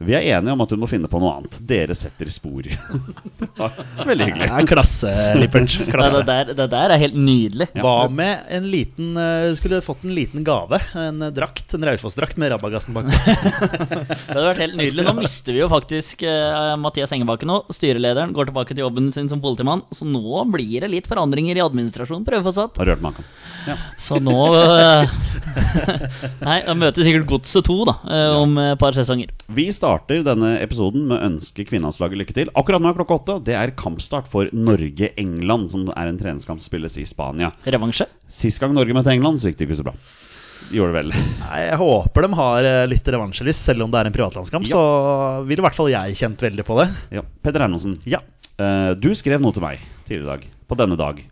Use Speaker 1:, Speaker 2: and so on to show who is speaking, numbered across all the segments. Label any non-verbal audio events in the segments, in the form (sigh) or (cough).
Speaker 1: Vi er enige om at hun må finne på noe annet. Dere setter spor. (laughs) Veldig hyggelig.
Speaker 2: Det er klasse, Lippert.
Speaker 3: det,
Speaker 2: Klasse.
Speaker 3: der, det der er helt nydelig.
Speaker 2: Hva med en liten eh, Skulle fått en liten gave. En eh, drakt. En Raufoss-drakt med Rabagasten bak.
Speaker 3: Det hadde vært helt nydelig. Nå mister vi jo faktisk eh, Mathias Engebakken nå. Styrelederen går tilbake til jobben sin som politimann. Så nå blir det litt forandringer i administrasjonen, prøveforsatt.
Speaker 1: Har du hørt maken?
Speaker 3: Så nå eh, (laughs) Nei, da møter sikkert Godset 2 da, eh, om et par sesonger.
Speaker 1: Vi starter denne episoden med å ønske kvinnelandslaget lykke til. Akkurat nå er klokka åtte. Det er kampstart for Norge-England, som er en treningskamp som spilles i Spania.
Speaker 3: Revansje.
Speaker 1: Sist gang Norge møtte England, så gikk det ikke så bra. Gjorde det vel. (laughs)
Speaker 2: Nei, Jeg håper de har eh, litt revansjelyst, selv om det er en privatlandskamp.
Speaker 1: Ja.
Speaker 2: Så ville i hvert fall jeg kjent veldig på det.
Speaker 1: Ja. Petter Hermansen,
Speaker 2: Ja.
Speaker 1: eh, du skrev noe til meg tidligere i dag. På denne dag.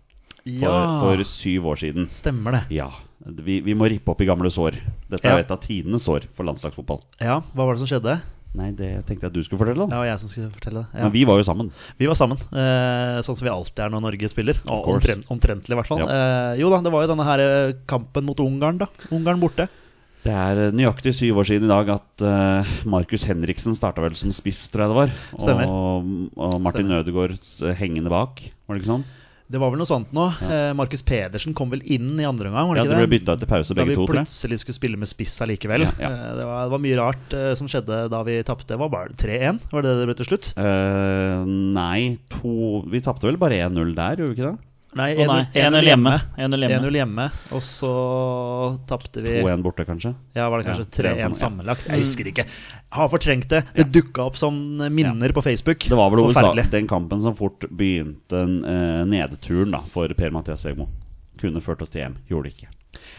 Speaker 1: For, for syv år siden.
Speaker 2: Stemmer det.
Speaker 1: Ja. Vi, vi må rippe opp i gamle sår. Dette
Speaker 2: Ja.
Speaker 1: er jo et av tidenes sår for landslagsfotball.
Speaker 2: Ja, Hva var det som skjedde?
Speaker 1: Nei, det tenkte jeg at du skulle fortelle,
Speaker 2: Det
Speaker 1: da.
Speaker 2: var jeg som skulle fortelle det. Ja.
Speaker 1: Men vi var jo sammen.
Speaker 2: Vi var sammen, eh, sånn som vi alltid er når Norge spiller. Og
Speaker 1: course.
Speaker 2: omtrent, omtrentlig, i hvert fall.
Speaker 1: Ja.
Speaker 2: Eh, jo da, det var jo denne her eh, kampen mot Ungarn, da. Ungarn borte.
Speaker 1: Det er eh, nøyaktig syv år siden i dag at eh, Markus Henriksen starta vel som spiss, tror jeg det var.
Speaker 2: Stemmer.
Speaker 1: Og, og Martin Ødegaard eh, hengende bak, var det ikke sånn?
Speaker 2: Det var vel noe sånt nå. Eh, Markus Pedersen kom vel inn i andre omgang, var
Speaker 1: Ja,
Speaker 2: det
Speaker 1: det ble
Speaker 2: ikke det?
Speaker 1: bytta til pause,
Speaker 2: Da
Speaker 1: begge
Speaker 2: vi
Speaker 1: to, tror jeg.
Speaker 2: plutselig skulle spille med spiss allikevel.
Speaker 1: Ja, ja.
Speaker 2: Eh, Det, var, det var mye rart eh, som skjedde da vi tapte. Det var bare 3-1, var det det det ble til slutt?
Speaker 1: Eh, nei, to Vi tapte vel bare 1-0 der, gjorde vi ikke det?
Speaker 2: Nei,
Speaker 3: Å nei, 1-0 hjemme. 1-0 hjemme.
Speaker 2: 1-0 hjemme, og så tapte vi
Speaker 1: 2-1 borte, kanskje.
Speaker 2: Ja, Mm. var det kanskje
Speaker 1: Ja, 3-1
Speaker 2: 3-1
Speaker 1: sammen, ja.
Speaker 2: sammenlagt? Jeg husker ikke. Har fortrengt det. Det dukka opp som minner på Facebook.
Speaker 1: Det var vel hovedsa-
Speaker 2: Forferdelig.
Speaker 1: den kampen som fort begynte en, eh, nedturen da, for Per-Mathias Egmo. Kunne ført oss til EM, gjorde det ikke.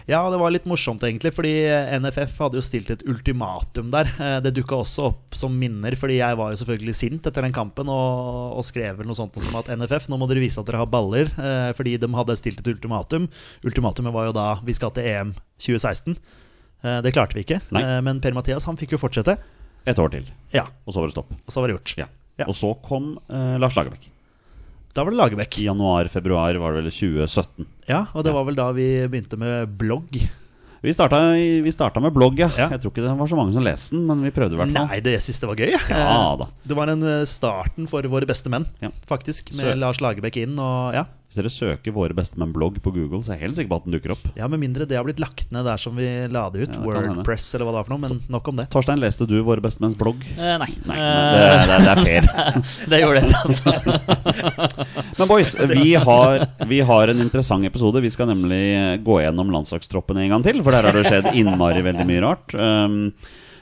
Speaker 2: Ja, det var litt morsomt, egentlig, fordi eh, NFF hadde jo stilt et ultimatum der. Eh, Det dukka også opp som minner, fordi jeg var jo selvfølgelig sint etter den kampen og, og skrev vel noe sånt som at NFF, nå må dere vise at dere har baller, eh, fordi de hadde stilt et ultimatum. Ultimatumet var jo da vi skal til EM 2016. Eh, Det klarte vi ikke,
Speaker 1: Nei.
Speaker 2: Eh, men Per-Mathias han fikk jo fortsette.
Speaker 1: Et år til,
Speaker 2: Ja,
Speaker 1: og så var det stopp.
Speaker 2: og så var det gjort.
Speaker 1: Ja.
Speaker 2: Ja.
Speaker 1: Og så kom eh, Lars Lagerbäck.
Speaker 2: Da var det Lagerbäck.
Speaker 1: I januar-februar var det vel 2017.
Speaker 2: Ja, og det var vel da vi begynte med blogg.
Speaker 1: Vi starta, i- vi starta med blogg, ja.
Speaker 2: Ja.
Speaker 1: Jeg tror ikke det var så mange som leste den, men vi prøvde i hvert fall.
Speaker 2: Nei, det jeg synes det var gøy.
Speaker 1: Ja da.
Speaker 2: Det var en eh, starten for våre beste menn,
Speaker 1: Ja.
Speaker 2: faktisk. Med
Speaker 1: Så-
Speaker 2: Lars Lagerbäck inn og ja.
Speaker 1: Hvis dere søker Våre bestemenn-blogg på Google, så er jeg helt sikker på at den dukker opp.
Speaker 2: ja. Med mindre det har blitt lagt ned der som vi la det
Speaker 1: Ja,
Speaker 2: ut.
Speaker 1: det kan hende.
Speaker 2: Wordpress eller hva det var for noe, men nok om det.
Speaker 1: Torstein, leste du Våre bestemenns blogg?
Speaker 3: Eh, nei.
Speaker 1: Nei, det,
Speaker 3: Eh,
Speaker 1: det, det er fair.
Speaker 3: det gjorde jeg, altså.
Speaker 1: Men boys, vi har, vi har en interessant episode. Vi skal nemlig eh, gå gjennom landslagstroppene en gang til, for der har det skjedd innmari veldig mye rart. Um,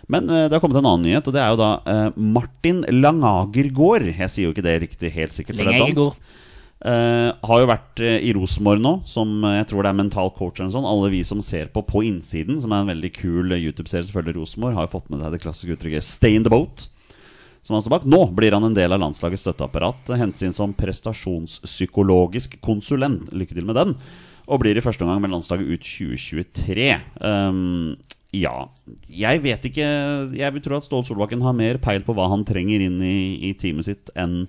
Speaker 1: men eh, det har kommet en annen nyhet, og det er jo da eh, Martin Langagergård. Jeg sier jo ikke det riktig helt sikkert, for det er
Speaker 3: Langagergård.
Speaker 1: dansk. Eh, har jo vært eh, i Rosenborg nå, som eh, jeg tror det er mental coach eller noe sånt. Alle vi som ser på På innsiden, som er en veldig kul eh, YouTube-serie som følger Rosenborg, har jo fått med seg det klassiske uttrykket 'stay in the boat'. Som han står bak. Nå blir han en del av landslagets støtteapparat. eh, Hentes inn som prestasjonspsykologisk konsulent. Lykke til med den. Og blir i første omgang med landslaget ut 2023. Ehm, ja Jeg vet ikke Jeg vil tro at Ståle Solbakken har mer peil på hva han trenger inn i, i teamet sitt enn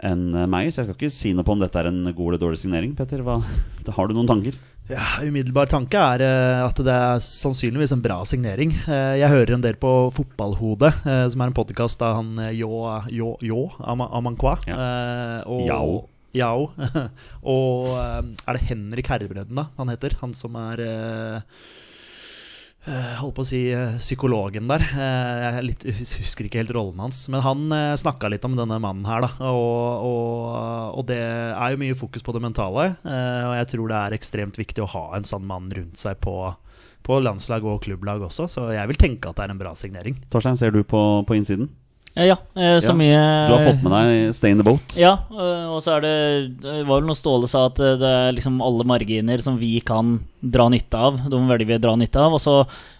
Speaker 1: enn meg, så jeg skal ikke si noe på om dette er en god eller dårlig signering. Petter, hva, (laughs) da har du noen tanker?
Speaker 2: Ja, Umiddelbar tanke er eh, at det er sannsynligvis en bra signering. Eh, Jeg hører en del på Fotballhodet, eh, som er en podkast av han eh, Yo, Yo, Yo Ama- Amankwa.
Speaker 1: Ja.
Speaker 2: eh, og-
Speaker 1: Yao.
Speaker 2: Yao. (laughs) og eh, er det Henrik Herrebredden, da, han heter? Han som er eh, eh, holdt på å si eh, psykologen der. Eh, Jeg er litt, hus- husker ikke helt rollen hans. Men han snakka litt om denne mannen her, da. Og, og, og det er jo mye fokus på det mentale. eh, Og jeg tror det er ekstremt viktig å ha en sånn mann rundt seg på, på landslag og klubblag også. Så jeg vil tenke at det er en bra signering.
Speaker 1: Torstein, ser du på, på innsiden?
Speaker 3: Eh, (laughs) Ja, eh, så
Speaker 1: Ja.
Speaker 3: mye
Speaker 1: Du har fått med deg Stay in the Boat.
Speaker 3: Ja, eh, og så er det Det var vel noe Ståle sa, at eh, det er liksom alle marginer som vi kan dra nytte av. De velger vi å dra nytte av. Og så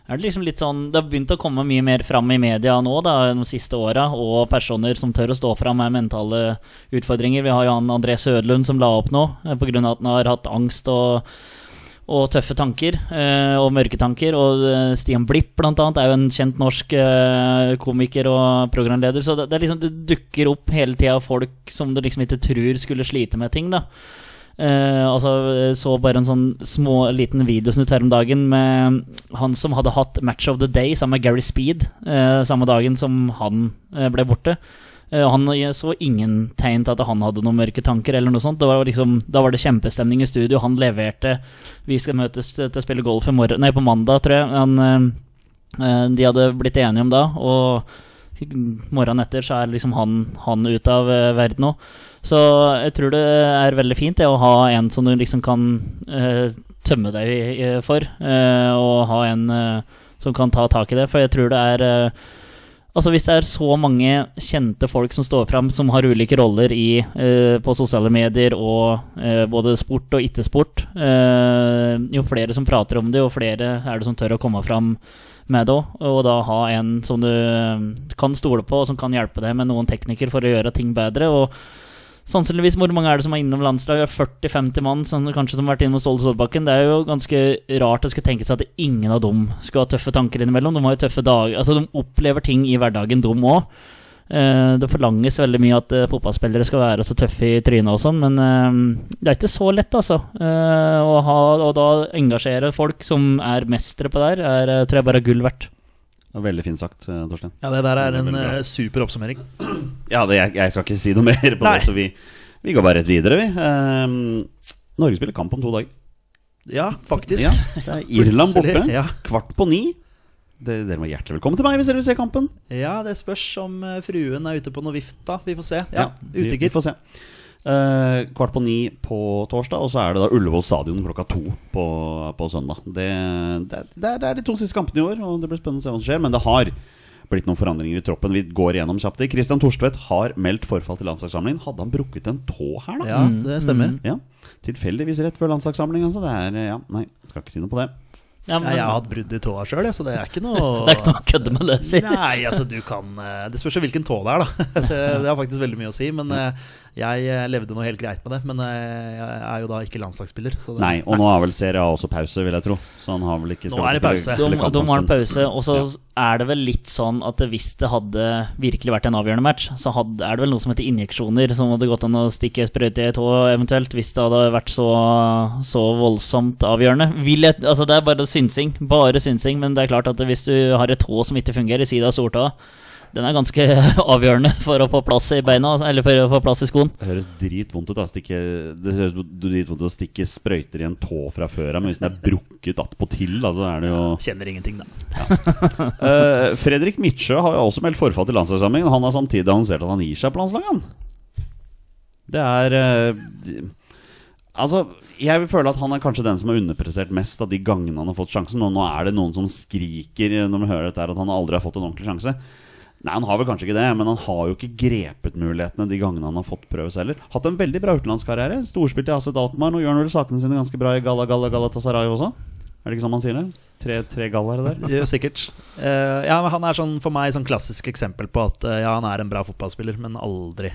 Speaker 3: er det liksom litt sånn Det har begynt å komme mye mer fram i media nå da, de siste åra, og personer som tør å stå fram med mentale utfordringer. Vi har jo han André Sødlund som la opp nå, eh, på grunn av at han har hatt angst og og tøffe tanker, eh, og mørke tanker. Og eh, Stian Blipp, blant annet, er jo en kjent norsk eh, komiker og programleder. Så det, det, er liksom, det dukker opp hele tida folk som du liksom ikke tror skulle slite med ting, da. Eh, altså, jeg så bare en sånn små, liten videosnutt her om dagen med han som hadde hatt Match of the Day sammen med Gary Speed eh, samme dagen som han eh, ble borte. Eh, og han jeg så ingen tegn til at han hadde noen mørke tanker eller noe sånt. Det var liksom, da var det kjempestemning i studio. Han leverte. Vi skal møtes til, til å spille golf i morgen Nei, på mandag, tror jeg. Han, eh, eh, de hadde blitt enige om da, og morgenen etter så er liksom han, han ut av eh, verden òg. Så jeg tror det er veldig fint det å ha en som du liksom kan eh, tømme deg i- for, eh, og ha en eh, som kan ta tak i det. For jeg tror det er eh, Altså Hvis det er så mange kjente folk som står fram, som har ulike roller i, eh, på sosiale medier og eh, både sport og ikke-sport eh, Jo flere som prater om det, jo flere er det som tør å komme fram med det òg. Og da ha en som du eh, kan stole på, og som kan hjelpe deg med noen teknikker for å gjøre ting bedre. Og sannsynligvis hvor mange er det som er innom landslaget? 40-50 mann som kanskje som har vært innom Ståle Solbakken. Det er jo ganske rart å skulle tenke seg at ingen av dem skulle ha tøffe tanker innimellom. De har jo tøffe dager Altså, de opplever ting i hverdagen, de òg. Det forlanges veldig mye at eh, fotballspillere skal være så tøffe i trynet og sånn, men eh, det er ikke så lett, altså. Eh, Å ha, og da engasjere folk som er mestere på det her, er, eh, tror jeg bare er gull verdt.
Speaker 1: Det var Veldig fint sagt, eh, Torstein.
Speaker 2: Ja, det der er en
Speaker 1: Veldig bra.
Speaker 2: eh, super oppsummering.
Speaker 1: Ja, det, jeg, jeg skal ikke si noe mer på
Speaker 2: Nei.
Speaker 1: det, så vi, vi går bare rett videre, vi. Ehm, Norge spiller kamp om to dager.
Speaker 2: Ja, faktisk.
Speaker 1: Ja, det er Irland borte.
Speaker 2: Plutselig, ja.
Speaker 1: Kvart på ni. Det, dere må hjertelig velkommen til meg hvis dere vil se kampen.
Speaker 2: Ja, det spørs om eh, fruen er ute på noe vift, da. Vi får se. Ja,
Speaker 1: Ja, vi- Vi
Speaker 2: Usikker.
Speaker 1: får se. Eh, kvart på ni på torsdag, og så er det da Ullevål stadion klokka to på, på søndag. Det, det, det, er, det er de to siste kampene i år, og det blir spennende å se hva som skjer. Men det har blitt noen forandringer i troppen. Vi går igjennom kjapt. det. Christian Thorstvedt har meldt forfall til landslagssamlingen. Hadde han brukket en tå her, da?
Speaker 2: Ja, det stemmer.
Speaker 1: Ja. Tilfeldigvis rett før landslagssamling, altså. Det er eh, Ja, nei, skal ikke si noe på det.
Speaker 3: Ja, men,
Speaker 2: Ja, jeg har hatt brudd i tåa sjøl, så det er ikke noe
Speaker 3: (laughs) det er ikke noe å kødde med, det, si.
Speaker 2: Nei, altså du kan eh, Det spørs jo hvilken tå det er, da. (laughs) Det, det har faktisk veldig mye å si. Men eh, jeg eh, levde nå helt greit med det. Men eh, jeg er jo da ikke landslagsspiller, så det,
Speaker 1: Nei, og nå har vel Serie A også pause, vil jeg tro. Så han har vel ikke
Speaker 2: Nå
Speaker 1: skal
Speaker 2: er det
Speaker 1: ikke
Speaker 2: pause.
Speaker 1: (laughs) spille-
Speaker 3: Så
Speaker 1: spille
Speaker 3: de,
Speaker 1: kamp
Speaker 3: de
Speaker 1: en
Speaker 3: har en
Speaker 1: stund.
Speaker 3: pause, og så er det vel litt sånn at hvis det hadde virkelig vært en avgjørende match, så hadde, er det vel noe som heter injeksjoner, som hadde gått an å stikke sprøyte i tå eventuelt, hvis det hadde vært så, så voldsomt avgjørende. Vil jeg, altså det er bare synsing, bare synsing, men det er klart at hvis du har et tå som ikke fungerer, siden av stortåa, den er ganske (laughs) avgjørende for å få plass i beina, eller for å få plass i skoen.
Speaker 1: Det høres dritvondt ut. Da. Stikke, det høres dritvondt ut å stikke sprøyter i en tå fra før av, men hvis den er brukket attpåtil, da, så er det jo
Speaker 3: (laughs)
Speaker 2: kjenner ingenting, da.
Speaker 1: Eh, Fredrik Midtsjø har jo også meldt forfall til landslagssamlingen. Han har samtidig annonsert at han gir seg på landslaget, han. Det er eh, de- Altså, jeg vil føle at han er kanskje den som har underprestert mest av de gangene han har fått sjansen. Og nå er det noen som skriker når man hører dette her, at han aldri har fått en ordentlig sjanse. Nei, han har vel kanskje ikke det, men han har jo ikke grepet mulighetene de gangene han har fått prøves heller. Hatt en veldig bra utenlandskarriere. Storspilt i Aset Altmar. Nå gjør han vel sakene sine ganske bra i Galla Galla Galatasaray også? Er det ikke sånn man sier det? Tre, tre gallaer der?
Speaker 2: Ja, sikkert. Eh, ja, men han er sånn, for meg sånn klassisk eksempel på at eh, ja, han er en bra fotballspiller, men aldri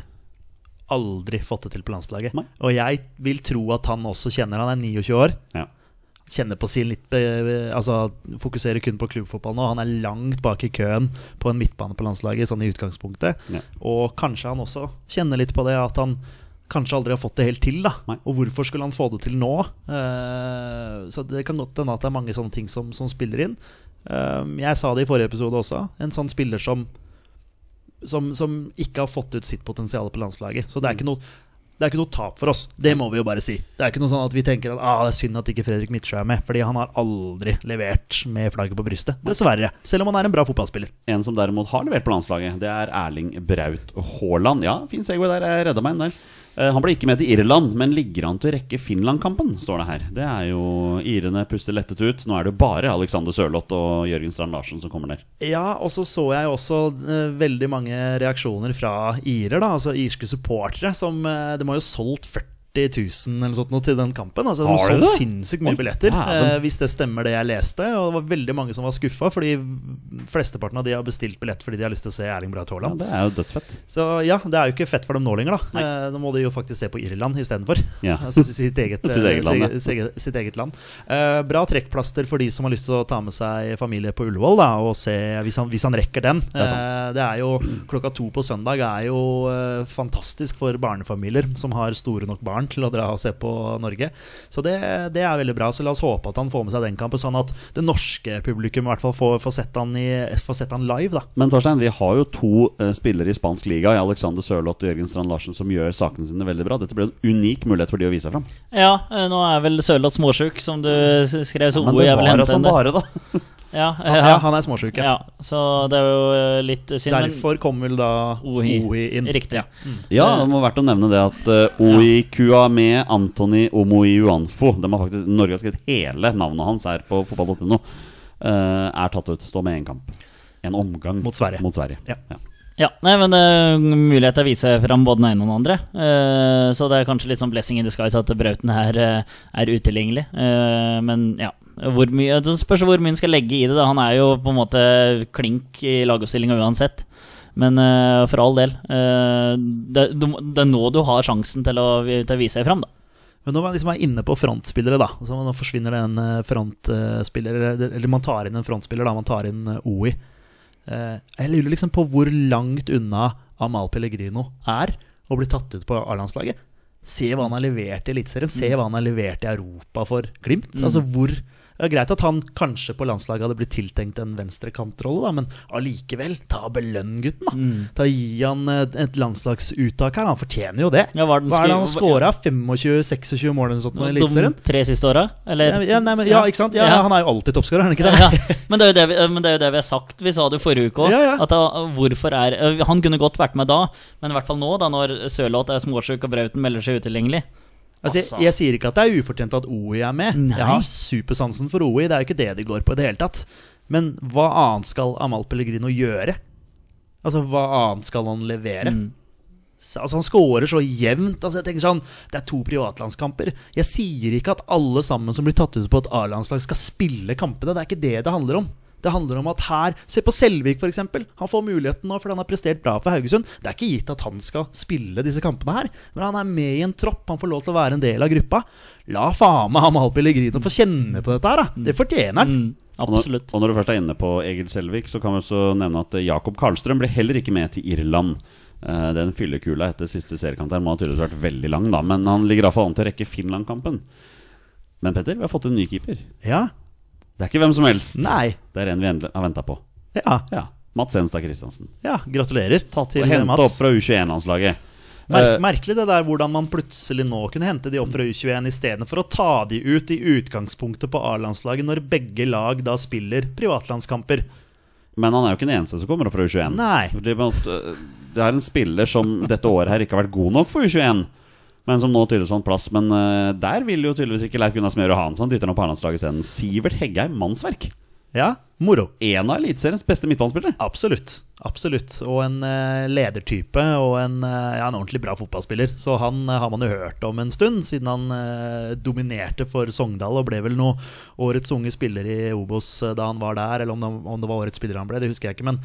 Speaker 2: Aldri fått det til på landslaget.
Speaker 1: Nei.
Speaker 2: Og jeg vil tro at han også kjenner Han er 29 år.
Speaker 1: Ja.
Speaker 2: Kjenner på sin litt eh, Altså fokuserer kun på klubbfotball nå. Han er langt bak i køen på en midtbane på landslaget, sånn i utgangspunktet.
Speaker 1: Ja.
Speaker 2: Og kanskje han også kjenner litt på det at han kanskje aldri har fått det helt til. da
Speaker 1: Nei.
Speaker 2: Og hvorfor skulle han få det til nå? Eh, så det kan godt hende at det er mange sånne ting som, som spiller inn. Eh, jeg sa det i forrige episode også. En sånn spiller som som, som ikke har fått ut sitt potensial på landslaget. Så det er ikke noe det er ikke noe tap for oss, det må vi jo bare si. Det er ikke noe sånn at vi tenker at ah, det er synd at ikke Fredrik Midtsjø er med, fordi han har aldri levert med flagget på brystet. Dessverre. Selv om han er en bra fotballspiller.
Speaker 1: En som derimot har levert på landslaget, det er Erling Braut Haaland. Ja, fin segway der. Jeg redda meg en der. Eh, Han ble ikke med til Irland, men ligger han til å rekke Finland-kampen, står det her. Det er jo Irene puster lettet ut. Nå er det jo bare Alexander Sørloth og Jørgen Strand Larsen som kommer der.
Speaker 2: Ja, og så så jeg også eh, veldig mange reaksjoner fra irer, da, altså irske supportere. Som eh, De har jo solgt 40 000 eller sånt noe til den kampen. Altså, de
Speaker 1: Har
Speaker 2: har
Speaker 1: de
Speaker 2: solgt
Speaker 1: det?
Speaker 2: sinnssykt
Speaker 1: Oi,
Speaker 2: mye billetter,
Speaker 1: dæven.
Speaker 2: eh, hvis det stemmer det jeg leste. Og det var veldig mange som var skuffa, fordi flesteparten av de har bestilt billett fordi de har lyst til å se Erling Braut
Speaker 1: Ja,
Speaker 2: Haaland.
Speaker 1: det er jo dødsfett.
Speaker 2: Så ja, det er jo ikke fett for dem nå lenger, da. Eh, nå må de jo faktisk se på Irland istedenfor.
Speaker 1: Ja.
Speaker 2: (laughs) Altså sitt eget,
Speaker 1: (laughs)
Speaker 2: eh,
Speaker 1: Sitt eget land, ja.
Speaker 2: sitt, sitt, sitt eget land. Eh, bra trekkplaster for de som har lyst til å ta med seg familie på Ullevål, da, og se hvis han, hvis han rekker den.
Speaker 1: er
Speaker 2: Eh, det er jo Klokka to på søndag er jo eh, fantastisk for barnefamilier som har store nok barn til å dra og se på Norge. Så det, det er veldig bra. Så la oss håpe at han får med seg den kampen, sånn at det norske publikum i hvert fall får, får, sett, han i, får sett han live, da.
Speaker 1: Men Torstein, vi har jo to eh, spillere i spansk liga, i Alexander Sørloth og Jørgen Strand Larsen, som gjør sakene sine veldig bra. Dette ble en unik mulighet for de å vise seg fram.
Speaker 3: Ja, eh, nå er vel Sørloth småsjuk, som du s- skrev så
Speaker 1: Men
Speaker 3: ordet
Speaker 1: det
Speaker 3: jeg vil
Speaker 1: var
Speaker 3: hente
Speaker 1: altså
Speaker 3: henne.
Speaker 1: bare, da.
Speaker 3: Ja, eh,
Speaker 2: Ja,
Speaker 3: ja,
Speaker 2: han er småsjuk.
Speaker 3: ja, så det er jo eh, litt synd. men-
Speaker 2: Derfor kom vel da
Speaker 3: Ohi.
Speaker 2: Ohi, inn.
Speaker 3: Riktig. Ja.
Speaker 1: Ja, det må være verdt å nevne det at uh, Oikua med Antony Omoiuanfo de har faktisk, Norge har skrevet hele navnet hans her på fotball.no. eh, er tatt ut. Står med én kamp. En omgang
Speaker 2: Mot Sverige.
Speaker 1: Mot Sverige.
Speaker 2: Ja.
Speaker 3: Ja, nei, men uh, mulighet til å vise fram både den ene og den andre. Eh, så det er kanskje litt sånn blessing in disguise at Brauten her eh, er utilgjengelig. Eh, men ja, hvor mye, det spørs hvor mye han skal legge i det. Da. Han er jo på en måte klink i lagoppstillinga uansett. Men eh, for all del. eh, det, du, må- det er nå du har sjansen til å, til å vise deg fram, da.
Speaker 2: Men når man liksom er inne på frontspillere, da så Nå forsvinner det en eh, frontspiller Eller eller man tar inn en frontspiller, da. Man tar inn eh, Ohi. Eh, Jeg lurer liksom på hvor langt unna Amal Pellegrino er å bli tatt ut på A-landslaget. Se hva han har levert i Eliteserien, se
Speaker 3: Mm.
Speaker 2: hva han har levert i Europa for Glimt. Altså hvor det er Greit at han kanskje på landslaget hadde blitt tiltenkt en venstrekantrolle, da, men allikevel, ta og belønn gutten, da. Ta Gi han eh, et landslagsuttak her, han fortjener jo det.
Speaker 3: Ja, hva er det han
Speaker 2: Hva er det han
Speaker 3: skulle-
Speaker 2: scora? 25-26 mål eller noe sånt nå i
Speaker 3: De
Speaker 2: Eliteserien?
Speaker 3: tre siste åra, eller?
Speaker 2: Ja, ja, nei, men, ja, ikke sant? Ja,
Speaker 3: Ja.
Speaker 2: Han er jo alltid toppskårer, er han ikke det?
Speaker 3: Ja, men, det er jo det vi, eh, men det er jo det vi har sagt. Vi sa det jo forrige uke òg.
Speaker 2: Ja, ja.
Speaker 3: Hvorfor er eh, Han kunne godt vært med da, men i hvert fall nå, da når Sørloth er småsjuk og Brauten melder seg utilgjengelig.
Speaker 2: (laughs) Altså, jeg, jeg sier ikke at det er ufortjent at OI er med.
Speaker 3: Nei.
Speaker 2: Jeg har supersansen for OI, det er jo ikke det de går på i det hele tatt. Men hva annet skal Amal Pellegrino gjøre? Altså, hva annet skal han levere? Så- Altså, han scorer så jevnt. Altså, jeg tenker sånn, Det er to privatlandskamper. Jeg sier ikke at alle sammen som blir tatt ut på et A-landslag, skal spille kampene. Det er ikke det det handler om. Det handler om at her Se på Selvik, f.eks. Han får muligheten nå fordi han har prestert bra for Haugesund. Det er ikke gitt at han skal spille disse kampene her, men han er med i en tropp. Han får lov til å være en del av gruppa. La faen meg Amal Pellegrino få kjenne på dette her, da. Det fortjener han.
Speaker 3: Mm,
Speaker 1: Og når,
Speaker 3: absolutt.
Speaker 1: og når du først er inne på Egil Selvik, så kan vi også nevne at eh, Jakob Karlstrøm ble heller ikke med til Irland. Eh, Den fyllekula etter siste seriekamp der må ha tydeligvis vært veldig lang, da. Men han ligger iallfall an til å rekke Finland-kampen. Men Petter, vi har fått en ny keeper.
Speaker 2: Ja.
Speaker 1: Det er ikke hvem som helst.
Speaker 2: Nei.
Speaker 1: Det er en vi endelig har venta på.
Speaker 2: Ja.
Speaker 1: Ja. Mats Enstad Christiansen.
Speaker 2: ja. Gratulerer
Speaker 1: Tatt og henta opp fra U21-landslaget.
Speaker 2: Mer
Speaker 1: Eh,
Speaker 2: merkelig det der hvordan man plutselig nå kunne hente de opp fra U21 istedenfor å ta de ut i utgangspunktet på A-landslaget, når begge lag da spiller privatlandskamper.
Speaker 1: Men han er jo ikke den eneste som kommer opp fra U21.
Speaker 2: Nei.
Speaker 1: Fordi, på en måte, øh, Det er en spiller som dette året her ikke har vært god nok for U21, men som nå tydeligvis har en plass. Men eh, øh, der vil jo tydeligvis ikke Leif Gunnar Smøre ha han, så han dytter han opp på A-landslaget isteden. Sivert Heggheim, mannsverk.
Speaker 2: Ja, moro.
Speaker 1: En av eliteseriens beste midtbanespillere.
Speaker 2: Absolutt. absolutt Og en eh, ledertype og en, eh, ja, en ordentlig bra fotballspiller. Så han eh, har man jo hørt om en stund, siden han eh, dominerte for Sogndal og ble vel noe årets unge spiller i Obos eh, da han var der, eller om det, om det var årets spiller han ble, det husker jeg ikke. men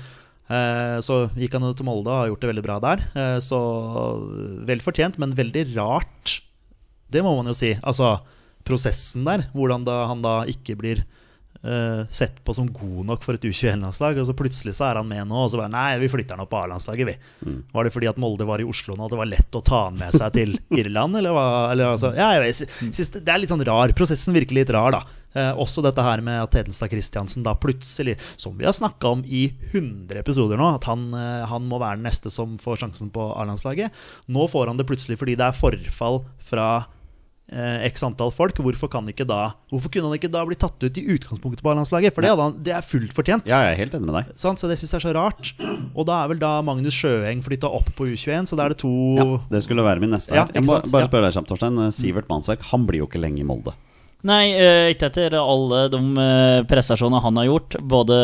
Speaker 2: eh, så gikk han jo til Molde og har gjort det veldig bra der. Eh, Så eh, vel fortjent, men veldig rart det må man jo si. Altså prosessen der, hvordan da han da ikke blir eh, sett på som god nok for et U21-landslag, og så plutselig så er han med nå, og så bare Nei, vi flytter han opp på A-landslaget, vi. Var det fordi at Molde var i Oslo nå, at det var lett å ta han med seg til Irland, eller hva? Eller, altså, ja, jeg vet- jeg synes det det er litt sånn rar. Prosessen virker litt rar, da. Eh, også dette her med at Hedenstad Christiansen da plutselig, som vi har snakka om i 100 episoder nå, at han, eh, han må være den neste som får sjansen på A-landslaget. Nå får han det plutselig fordi det er forfall fra eh, x antall folk, hvorfor, kan ikke da, hvorfor kunne han ikke da bli tatt ut i utgangspunktet på A-landslaget? For det, hadde han, det er fullt fortjent.
Speaker 1: Ja, jeg er helt enig med deg.
Speaker 2: Sant? Så det syns jeg er så rart. Og da er vel da Magnus Sjøeng flytta opp på U21, så da er det to
Speaker 1: Ja, det skulle være min neste.
Speaker 2: Ja,
Speaker 1: her jeg må
Speaker 2: ikke sant?
Speaker 1: bare
Speaker 2: Ja.
Speaker 1: spørre deg, kjapt, Torstein. Sivert Mannsverk han blir jo ikke lenge i Molde.
Speaker 3: Nei, eh, ikke etter alle de eh, prestasjonene han har gjort, både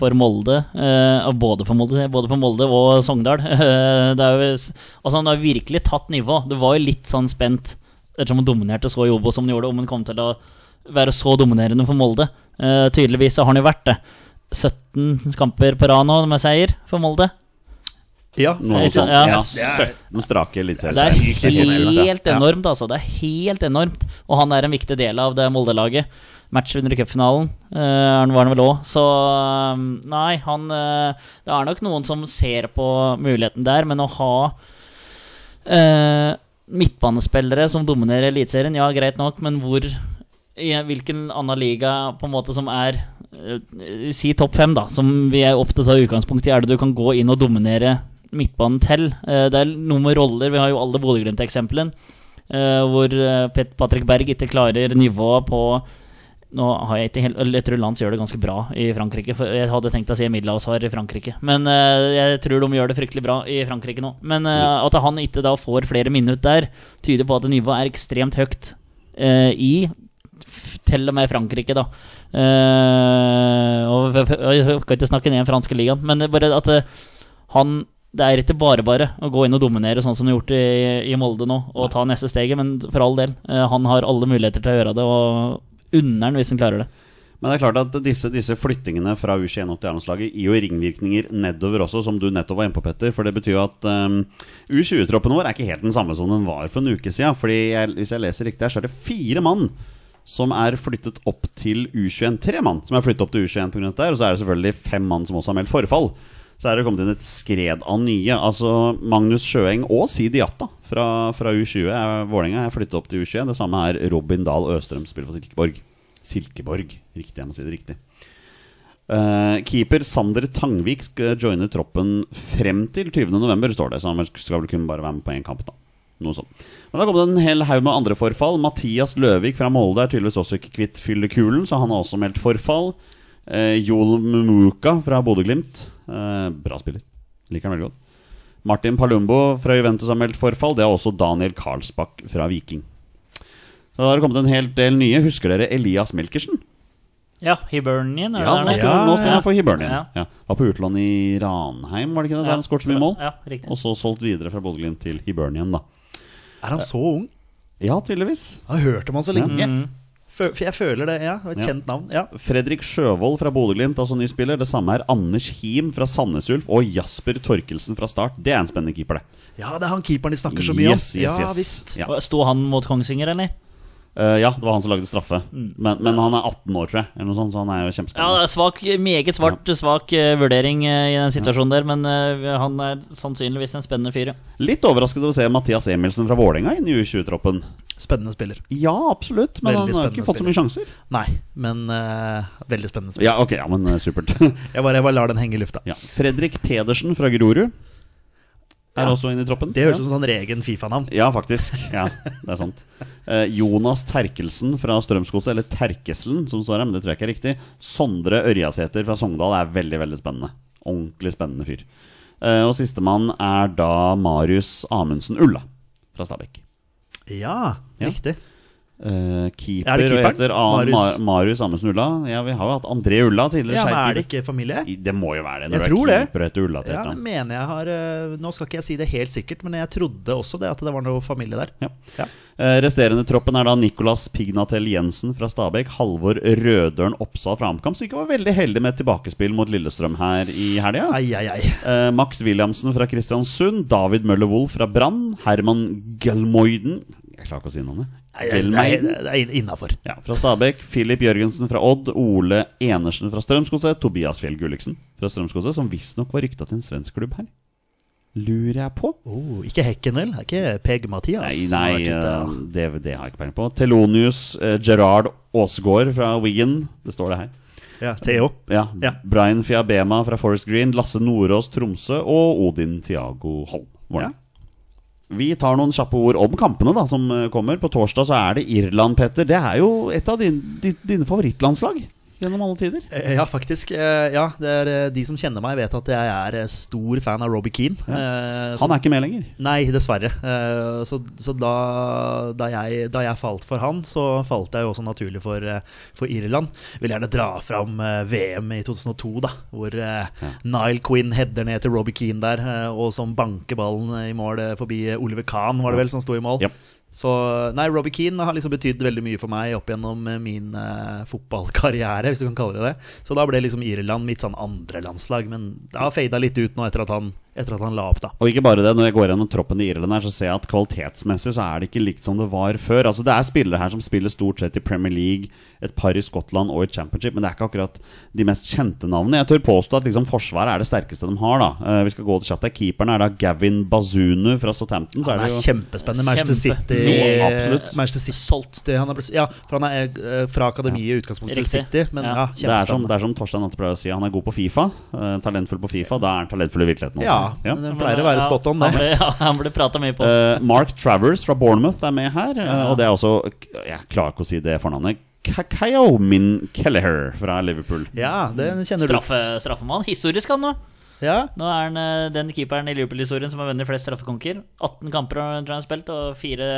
Speaker 3: for Molde eh, og Både for Molde, både for Molde og Sogndal. (laughs) Eh, Det er jo, s- altså han har virkelig tatt nivå. Det var jo litt sånn spent ettersom han dominerte så i Obos som han gjorde, om han kom til å være så dominerende for Molde. Eh, Tydeligvis så har han jo vært det. 17 kamper på rad nå med seier for Molde.
Speaker 2: Ja,
Speaker 1: Noe
Speaker 3: Ikke-
Speaker 1: sånt.
Speaker 3: ja.
Speaker 1: Ja,
Speaker 2: Det
Speaker 1: 17 strake
Speaker 3: Det
Speaker 1: eliteserier.
Speaker 3: er helt
Speaker 2: Ja.
Speaker 3: enormt, altså. Det er helt enormt. Og han er en viktig del av det Molde-laget. Match under cupfinalen eh, han var han vel òg. Så um, nei, han eh, Det er nok noen som ser på muligheten der, men å ha eh, midtbanespillere som dominerer Eliteserien, ja, greit nok, men hvor i hvilken annen liga på en måte som er eh, Si topp fem, da, som vi er ofte tar utgangspunkt i, er det du kan gå inn og dominere midtbanen til. Eh, Det er noe med roller. Vi har jo alle Bodø-Glimt-eksempelen. eh, Hvor eh, Pet- Patrick Berg ikke klarer nivået på Nå har jeg ikke helt eller Jeg tror Lance gjør det ganske bra i Frankrike. For jeg hadde tenkt å si Middelhavsvar i Frankrike, men eh, jeg tror de gjør det fryktelig bra i Frankrike nå. Men eh, at han ikke da får flere minutter der, tyder på at nivået er ekstremt høyt eh, i f- til og med Frankrike, da. Eh, og f- f- jeg kan ikke snakke ned den franske ligaen, men det er bare at eh, han Det er ikke bare bare å gå inn og dominere sånn som de har gjort i, i Molde nå, og ta neste steget, men for all del. eh, han har alle muligheter til å gjøre det, og unner han hvis han klarer det.
Speaker 1: Men det er klart at disse, disse flyttingene fra U21 opp til A-landslaget gir jo ringvirkninger nedover også, som du nettopp var inne på, Petter. For det betyr jo at ehm, U20-troppen vår er ikke helt den samme som den var for en uke siden. Fordi jeg, hvis jeg leser riktig her, så er det fire mann som er flyttet opp til U21. Tre mann som er flyttet opp til U21 pga. dette, her, og så er det selvfølgelig fem mann som også har meldt forfall. Så er det kommet inn et skred av nye. Altså Magnus Sjøeng og Sidi Jatta fra, fra U20. er- Vålerenga er flyttet opp til U21. Det samme er Robin Dahl Østrøm, spiller for Silkeborg. Silkeborg. Riktig, jeg må si det riktig. Eh, keeper Sander Tangvik skal joine troppen frem til 20.11, står det. Så han skal vel kunne bare være med på én kamp, da. Noe sånt. Men det har kommet en hel haug med andre forfall. Mathias Løvik fra Molde er tydeligvis også ikke kvitt fyllekulen, så han har også meldt forfall. Eh, Joel Mumuka fra Bodø-Glimt. Eh, bra spiller. Liker han veldig godt. Martin Palumbo fra Juventus har meldt forfall. Det har også Daniel Karlsbakk fra Viking. Så da har det kommet en hel del nye. Husker dere Elias Melkersen?
Speaker 3: Ja, Hibernian
Speaker 1: Ja, nå spiller, nå spiller han for Hibernian.
Speaker 3: Ja.
Speaker 1: Ja. Var på utlån i Ranheim, var det ikke det? Der han skåret så mye mål.
Speaker 3: Ja, riktig.
Speaker 1: Og så solgt videre fra Bodø-Glimt til Hibernian, da.
Speaker 2: Er han så ung?
Speaker 1: Ja, tydeligvis.
Speaker 2: Jeg har hørt om han så lenge. Fø- For jeg føler det, Mm. ja. Et kjent navn. Ja.
Speaker 1: Fredrik Sjøvold fra Bodø-Glimt, altså ny spiller. Det samme er Anders Him fra Sandnes Ulf og Jasper Torkelsen fra Start. Det er en spennende keeper, det.
Speaker 2: ja, det er han keeperen de snakker så mye om.
Speaker 1: Yes, yes,
Speaker 2: Ja
Speaker 1: yes.
Speaker 2: visst.
Speaker 1: Ja.
Speaker 3: Og Sto han mot Kongsvinger, eller?
Speaker 1: Eh, ja, det var han som lagde straffe. Men, men han er 18 år, tror jeg, eller noe sånt, så han er jo
Speaker 3: Ja, det
Speaker 1: kjempespennende.
Speaker 3: er svak, meget svart, svak eh, vurdering eh, i den situasjonen der, men eh, han er sannsynligvis en spennende fyr, ja.
Speaker 1: Litt overrasket over å se Mathias Emilsen fra Vålerenga inn i U20-troppen.
Speaker 2: Spennende spiller.
Speaker 1: Ja, absolutt, men han
Speaker 2: Veldig
Speaker 1: har ikke
Speaker 2: spennende
Speaker 1: fått så mye sjanser.
Speaker 2: Nei, men eh, veldig spennende spiller.
Speaker 1: Ja, ok, ja, men eh, supert. (laughs)
Speaker 2: Jeg bare, jeg bare lar den henge i lufta.
Speaker 1: Ja. Fredrik Pedersen fra Grorud er
Speaker 2: Ja.
Speaker 1: også inne i troppen.
Speaker 2: Det høres ut som sånn regen Fifa-navn.
Speaker 1: Ja, faktisk. Ja, det er sant. Eh, Jonas Terkelsen fra Strømsgodset, eller Terkeselen, som står her, men det tror jeg ikke er riktig. Sondre Ørjasæter fra Sogndal er veldig, veldig spennende. Ordentlig spennende fyr. Eh, og sistemann er da Marius Amundsen Ulla fra Stabekk.
Speaker 2: Ja,
Speaker 1: Ja.
Speaker 2: riktig.
Speaker 1: Eh, eh,
Speaker 2: Er
Speaker 1: keeper
Speaker 2: det
Speaker 1: og
Speaker 2: keeperen?
Speaker 1: heter annen
Speaker 2: Marius.
Speaker 1: Marius. Ma Marius Amundsen Ulla. Ja, vi har jo hatt André Ulla tidligere.
Speaker 2: Ja, men
Speaker 1: skeiv
Speaker 2: er det ikke familie?
Speaker 1: keeper. det må jo være det.
Speaker 2: Jeg
Speaker 1: Når
Speaker 2: tror
Speaker 1: du er
Speaker 2: det.
Speaker 1: keeper og heter Ulla til et
Speaker 2: Ja,
Speaker 1: eller
Speaker 2: det
Speaker 1: annet.
Speaker 2: mener jeg har eh, Nå skal ikke jeg si det helt sikkert, men jeg trodde også det at det var noe familie der.
Speaker 1: Ja. Eh, resterende troppen er da Nicolas Pignatel Jensen fra Stabæk, Halvor Rødørn Oppsal fra AmCam, som ikke var veldig heldig med et tilbakespill mot Lillestrøm her i helga.
Speaker 2: Ai, ai, ai.
Speaker 1: Eh, Max Williamsen fra Kristiansund, David Møller Wolff fra Brann, Herman Gelmoiden Jeg klarer ikke å si navnet.
Speaker 2: Nei, det er,
Speaker 1: Gelmeiden.
Speaker 2: det er innafor.
Speaker 1: Ja, fra Stabæk, Filip Jørgensen fra Odd, Ole Enersen fra Strømsgodset, Tobias Fjell Gulliksen fra Strømsgodset, som visstnok var rykta til en svensk klubb her. Lurer jeg på?
Speaker 2: Oh, ikke Hekkenøl, det er ikke Peg-Mathias.
Speaker 1: Nei,
Speaker 2: som har
Speaker 1: nei
Speaker 2: vært ute, ja.
Speaker 1: eh, det, det har jeg ikke peiling på. Telonius eh, Gerard Aasgaard fra Wigan, det står det her.
Speaker 2: Ja, Theo.
Speaker 1: Ja,
Speaker 2: Ja.
Speaker 1: Brian Fiabema fra Forest Green, Lasse Nordås Tromsø og Odin Tiago Holm. Var det. Vi tar noen kjappe ord om kampene da, som eh, kommer. På torsdag så er det Irland, Petter. Det er jo et av din, di- dine favorittlandslag gjennom alle tider.
Speaker 2: Eh, Ja, faktisk. Eh, Ja, det er eh, De som kjenner meg, vet at jeg er eh, stor fan av Robbie Keane. Eh, så-
Speaker 1: Han er ikke med lenger.
Speaker 2: Nei, dessverre. Eh, Så, så da, da, jeg, da jeg falt for han, så falt jeg jo også naturlig for, eh, for Irland. Vil gjerne dra fram eh, VM i 2002, da, hvor eh, Nile Quinn header ned til Robbie Keane der, eh, og som banker ballen i mål eh, forbi Oliver Kahn, var det vel, som sto i mål.
Speaker 1: Ja.
Speaker 2: Så nei, Robbie Keane har liksom betydd veldig mye for meg opp gjennom eh, min eh, fotballkarriere, hvis du kan kalle det det. Så da ble liksom Irland mitt sånn andre landslag, men det har fada litt ut nå etter at han, etter at han la opp, da.
Speaker 1: Og ikke bare det, når jeg går gjennom troppen i Irland her, så ser jeg at kvalitetsmessig så er det ikke likt som det var før. Altså Det er spillere her som spiller stort sett i Premier League, et par i Skottland og i Championship, men det er ikke akkurat de mest kjente navnene. Jeg tør påstå at liksom forsvaret er det sterkeste de har, da. Eh, vi skal gå til kjapt her. Keeperen er da Gavin Bazunu fra Southampton. Så er
Speaker 2: Han
Speaker 1: det
Speaker 2: er
Speaker 1: jo
Speaker 2: kjempespennende. Manchester
Speaker 3: Kjempe.
Speaker 2: City.
Speaker 1: Jo, absolutt.
Speaker 2: Manchester City.
Speaker 3: Solgt.
Speaker 2: Han er, plutselig- ja, for han er eh, fra akademiet i utgangspunktet til
Speaker 3: Riktig.
Speaker 2: City, men
Speaker 3: Ja.
Speaker 2: ja,
Speaker 1: det er, som, det
Speaker 2: kjempespennende.
Speaker 1: er som Torstein Atte pleier å si, han er god på Fifa. eh, talentfull på Fifa, da er han talentfull i virkeligheten også.
Speaker 2: Ja, men det pleier å være
Speaker 3: Ja,
Speaker 2: spot on,
Speaker 3: Han
Speaker 2: det.
Speaker 3: ble, (laughs) ja, han ble prata mye på.
Speaker 1: Eh, Mark Travers fra Bournemouth er med her. eh, og det er også Jeg klarer ikke å si det fornavnet. Kakao Min Kelleher fra Liverpool.
Speaker 2: Ja, det kjenner du.
Speaker 3: Straffe, straffemann. Historisk, han nå.
Speaker 2: Ja,
Speaker 3: Nå er han eh, den keeperen i Liverpool-historien som har vunnet flest straffekonker. 18 kamper har han tror jeg han har spilt, og fire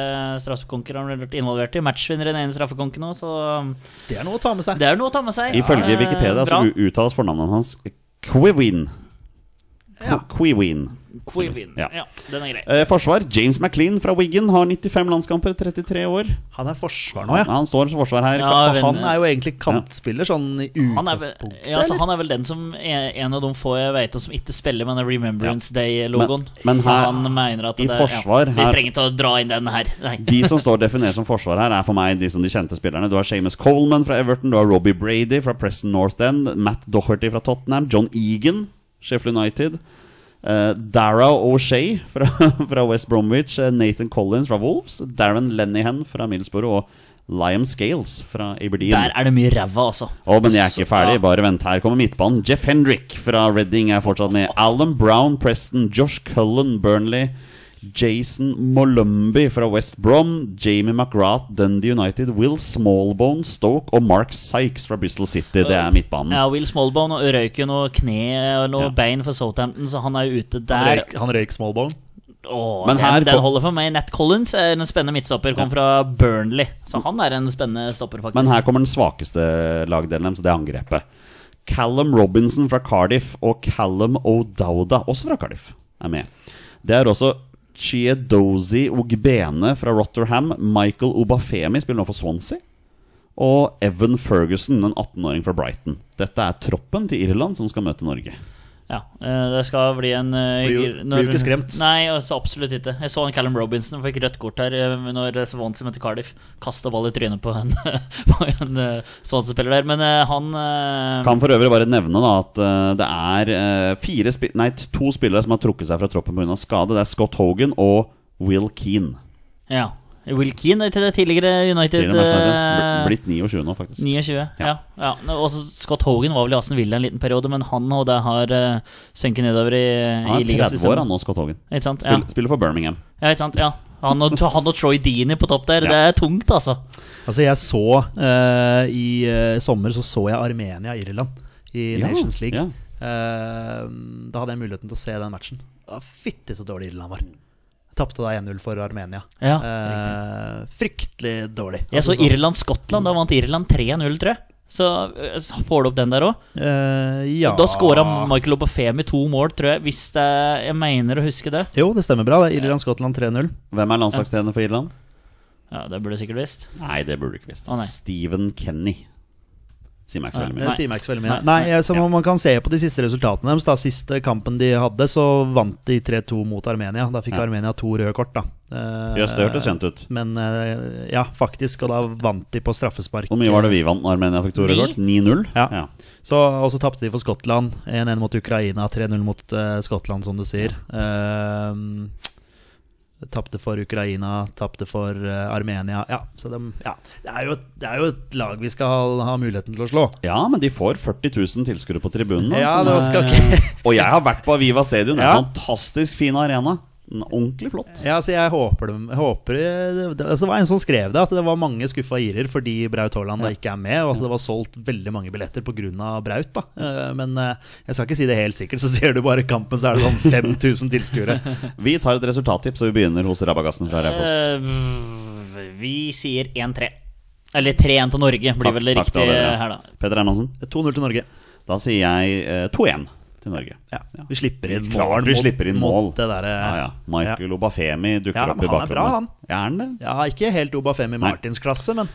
Speaker 3: straffekonker har han vært involvert i. Matchvinner i den ene straffekonken nå, så um,
Speaker 2: det er noe å ta med seg.
Speaker 3: det er jo noe å ta med seg.
Speaker 1: Ifølge
Speaker 3: Eh,
Speaker 1: Wikipedia
Speaker 3: bra.
Speaker 1: så u- uttales fornavnet hans Quivin.
Speaker 2: Ja.
Speaker 1: Quivin.
Speaker 3: Quivin.
Speaker 1: Ja.
Speaker 3: Ja. den er grei.
Speaker 1: Eh, forsvar James McLean fra Wigan har 95 landskamper, 33 år.
Speaker 2: Han er forsvar nå, ja.
Speaker 1: Han står som forsvar her.
Speaker 3: Ja,
Speaker 2: Og han
Speaker 3: venner.
Speaker 2: er jo egentlig kantspiller, sånn i
Speaker 3: Han er, vel,
Speaker 2: utgangspunktet.
Speaker 3: ja, altså,
Speaker 2: eller?
Speaker 3: han er vel den som er en av de få jeg vet om som ikke spiller med den Remembrance Day-logoen.
Speaker 1: Men- men her-
Speaker 3: han mener at
Speaker 1: i
Speaker 3: det,
Speaker 1: forsvar
Speaker 3: Vi
Speaker 1: her-
Speaker 3: trenger ikke å dra inn den her. Nei.
Speaker 1: De som står definert som forsvar her, er for meg de som de kjente spillerne. Du har Seamus Coleman fra Everton, du har Robbie Brady fra Preston North End, Matt Doherty fra Tottenham, John Egan, Sheffield United, eh, Dara O'Shea fra, (laughs) fra West Bromwich, eh, Nathan Collins fra Wolves, Darren Lennihan fra Middlesbrough og Liam Scales fra Aberdeen.
Speaker 3: Der er det mye ræva, altså.
Speaker 1: Å, men jeg er ikke
Speaker 3: Så-
Speaker 1: ferdig.
Speaker 3: ja.
Speaker 1: Bare vent, her kommer midtbanen. Jeff Hendrick fra Reading er fortsatt med. Alan Brown, Preston. Josh Cullen, Burnley. Jason Molumby fra West Brom. Jamie McGrath, Dundee United. Will Smallbone, Stoke. Og Mark Sykes fra Bristol City. Det er midtbanen.
Speaker 3: Ja, Will Smallbone og røyk jo noe kne og
Speaker 1: Mm.
Speaker 3: noe
Speaker 1: Ja.
Speaker 3: bein for Southampton, så han er jo ute
Speaker 2: Han
Speaker 3: der.
Speaker 2: røyk- Han røyk smallbone.
Speaker 3: Åh,
Speaker 1: Men
Speaker 3: den,
Speaker 1: her
Speaker 3: den
Speaker 1: kom-
Speaker 3: holder for meg. Nat Collins er en spennende midtstopper, kom fra Burnley. Så han er en spennende stopper, faktisk.
Speaker 1: Men her kommer den svakeste lagdelen deres, det er angrepet. Callum Robinson fra Cardiff og Callum O'Dowda, også fra Cardiff, er med. Det er også Chiedozi Ogbene fra Rotterham. Michael Obafemi spiller nå for Swansea. Og Evan Ferguson, en 18-åring fra Brighton. Dette er troppen til Irland som skal møte Norge.
Speaker 3: Ja, eh, det skal bli en eh,
Speaker 2: Blir jo-
Speaker 3: gir-
Speaker 2: blir jo ikke skremt.
Speaker 3: Nei, altså, absolutt ikke. Jeg så en Callum Robinson fikk rødt kort her eh, når Swansea møtte Cardiff. Kasta ball i trynet på en, (laughs) på en eh, Swansea-spiller der. Men eh, han eh,
Speaker 1: Kan for øvrig bare nevne da at eh, det er eh, fire spi nei, t- to spillere som har trukket seg fra troppen pga. skade. Det er Scott Hogan og Will Keane.
Speaker 3: Ja. Will Keane til det tidligere United.
Speaker 1: Tidligere matchvinner.
Speaker 3: eh,
Speaker 1: Bl- Blitt 29 nå, faktisk.
Speaker 3: 29,
Speaker 1: Ja.
Speaker 3: ja. ja. Og så Scott Hogan var vel i Aston Villa en liten periode, men han og det har eh, sunket nedover i,
Speaker 1: Han
Speaker 3: i
Speaker 1: er 30 år,
Speaker 3: ligasystemet.
Speaker 1: han nå, Scott Hogan.
Speaker 3: Ikke sant? Ja.
Speaker 1: Spill, Spiller for Birmingham.
Speaker 3: ja, ikke sant? Ja. Han, og, han og Troy Deany på topp der, det er tungt, altså.
Speaker 2: Altså, jeg så eh, I eh, sommer så så jeg Armenia-Irland i
Speaker 1: Ja,
Speaker 2: Nations League.
Speaker 1: ja.
Speaker 2: Eh, da hadde jeg muligheten til å se den matchen. Ah, Fytti så dårlig Irland var. Tapte da 1-0 for Armenia.
Speaker 3: Ja,
Speaker 2: eh, fryktelig dårlig.
Speaker 3: Jeg så
Speaker 2: Altså, sånn-
Speaker 3: Irland-Skottland. Da vant Irland 3-0, tror jeg. Så eh, så får du opp den der òg.
Speaker 2: Eh, ja.
Speaker 3: Da scora Michael Obafemi to mål, tror jeg. Hvis det, jeg mener å huske det.
Speaker 2: Jo, det stemmer bra. det er Irland-Skottland 3-0.
Speaker 1: Hvem er landslagstrener for Irland?
Speaker 3: Ja, Det burde du sikkert visst.
Speaker 1: Nei, det burde du ikke visst.
Speaker 3: Å, nei.
Speaker 1: Steven Kenny. Sier meg ikke så veldig
Speaker 2: Det
Speaker 1: mye.
Speaker 3: Nei.
Speaker 2: Eh, sier meg ikke så veldig mye. Nei, jeg- som om man kan se på de siste resultatene deres. Da siste kampen de hadde, så vant de 3-2 mot Armenia. Da fikk
Speaker 1: Ja.
Speaker 2: Armenia to røde kort, da. Eh,
Speaker 1: Jøss, det hørtes kjent ut.
Speaker 2: Men eh, ja, faktisk. Og da vant de på straffespark.
Speaker 1: Hvor mye var det vi vant når Armenia fikk to røde kort? 9-0?
Speaker 2: Ja. Så, og så tapte de for Skottland. 1-1 mot Ukraina, 3-0 mot eh, Skottland, som du sier. Uh, tapte for Ukraina, tapte for eh, Armenia. Ja, så dem- ja. Det, er jo, det er jo et lag vi skal ha muligheten til å slå.
Speaker 1: Ja, men de får 40 000 tilskuere på tribunen. da,
Speaker 2: Ja,
Speaker 1: som
Speaker 2: det
Speaker 1: er-
Speaker 2: skal ikke
Speaker 1: (laughs) Og jeg har vært på Aviva Stadion. Det er
Speaker 2: Ja.
Speaker 1: en fantastisk fin arena. En ordentlig flott.
Speaker 2: Ja, altså jeg håper dem jeg håper, det, det, altså det var en som skrev det, at det var mange skuffa irer fordi Braut Haaland da ikke er med, og at det var solgt veldig mange billetter pga. Braut. da Eh, Men eh, jeg skal ikke si det helt sikkert, så (laughs) ser du bare kampen, så er det sånn 5000 tilskuere.
Speaker 1: Vi tar et resultattips, og vi begynner hos Rabagassen fra Raufoss.
Speaker 3: Eh, vi sier 1-3. Eller 3-1 til Norge, blir
Speaker 1: Takk-
Speaker 3: vel
Speaker 1: takk til
Speaker 3: riktig
Speaker 1: alle dere.
Speaker 3: her, da.
Speaker 1: Petter Hermansen,
Speaker 2: 2-0 til Norge.
Speaker 1: da sier jeg eh, 2-1 til Norge.
Speaker 2: Ja, vi slipper inn
Speaker 1: Klart
Speaker 2: mål.
Speaker 1: vi
Speaker 2: mot-
Speaker 1: slipper inn
Speaker 2: mot
Speaker 1: mål.
Speaker 2: Det derre-
Speaker 1: Ja, ja. Michael Obafemi dukker
Speaker 2: Ja,
Speaker 1: opp
Speaker 2: men
Speaker 1: i
Speaker 2: han er
Speaker 1: bakrommet.
Speaker 2: bra, han.
Speaker 1: Er han det?
Speaker 2: ja, ikke helt Obafemi Martins klasse, men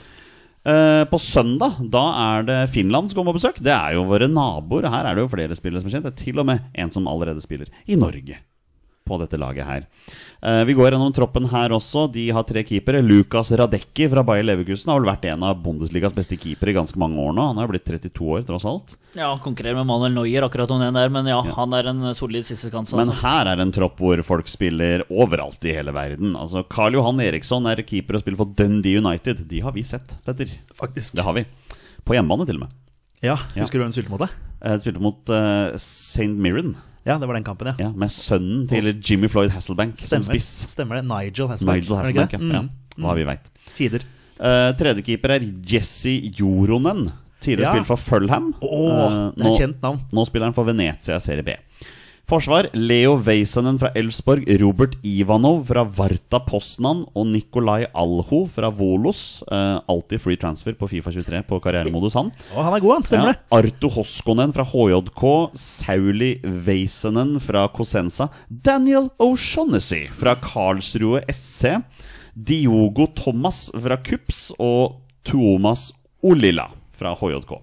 Speaker 1: Eh, på søndag da er det Finland som kommer på besøk. Det er jo våre naboer. Her er det jo flere spillere som er kjent. Det er til og med en som allerede spiller i Norge på dette laget her. Eh, vi går gjennom troppen her også. De har tre keepere. Lukas Radecki fra Bayer Leverkusen har vel vært en av Bundesligas beste keepere i ganske mange år nå. Han har jo blitt 32 år, tross alt.
Speaker 3: Ja, han konkurrerer med Manuel Neuer akkurat om den der, men ja, han er en solid sisteskanse.
Speaker 1: Men
Speaker 3: Altså.
Speaker 1: her er en tropp hvor folk spiller overalt i hele verden. Altså, Karl Johan Eriksson er keeper og spiller for Dundee United. De har vi sett, Petter.
Speaker 2: faktisk
Speaker 1: Det har vi. På hjemmebane, til og med.
Speaker 2: Ja, Husker du hvem spilte mot deg?
Speaker 1: Eh, De spilte mot eh, St. Mirren,
Speaker 2: Ja, det var den kampen, ja.
Speaker 1: ja, med sønnen til Jimmy Floyd Hasselbank som
Speaker 2: Stemmer,
Speaker 1: spiss.
Speaker 2: stemmer det. Nigel Hasselbank.
Speaker 1: Nigel
Speaker 2: er det ikke
Speaker 1: Hasselbank, ja.
Speaker 2: det?
Speaker 1: ja.
Speaker 2: Mm.
Speaker 1: Hva vi veit.
Speaker 2: Tider.
Speaker 1: Eh, Tredjekeeper er Jesse Joronen. Tidligere
Speaker 2: Ja.
Speaker 1: spilt for Fulham.
Speaker 2: Åh,
Speaker 1: Eh,
Speaker 2: det er
Speaker 1: nå-
Speaker 2: et kjent navn.
Speaker 1: Nå spiller han for Venezia i Serie B. Forsvar Leo Weisanen fra Elfsborg, Robert Ivanov fra Varta Poznan og Nikolai Alho fra Volos. Eh, alltid free transfer på Fifa 23 på karrieremodus, han.
Speaker 2: Å, han er god, han. Stemmer
Speaker 1: Ja,
Speaker 2: det.
Speaker 1: Arto Hoskonen fra HJK, Sauli Weisanen fra Cosenza, Daniel O'Shaughnessy fra Karlsrue SC, Diogo Thomas fra Kups og Tuomas Olila fra HJK.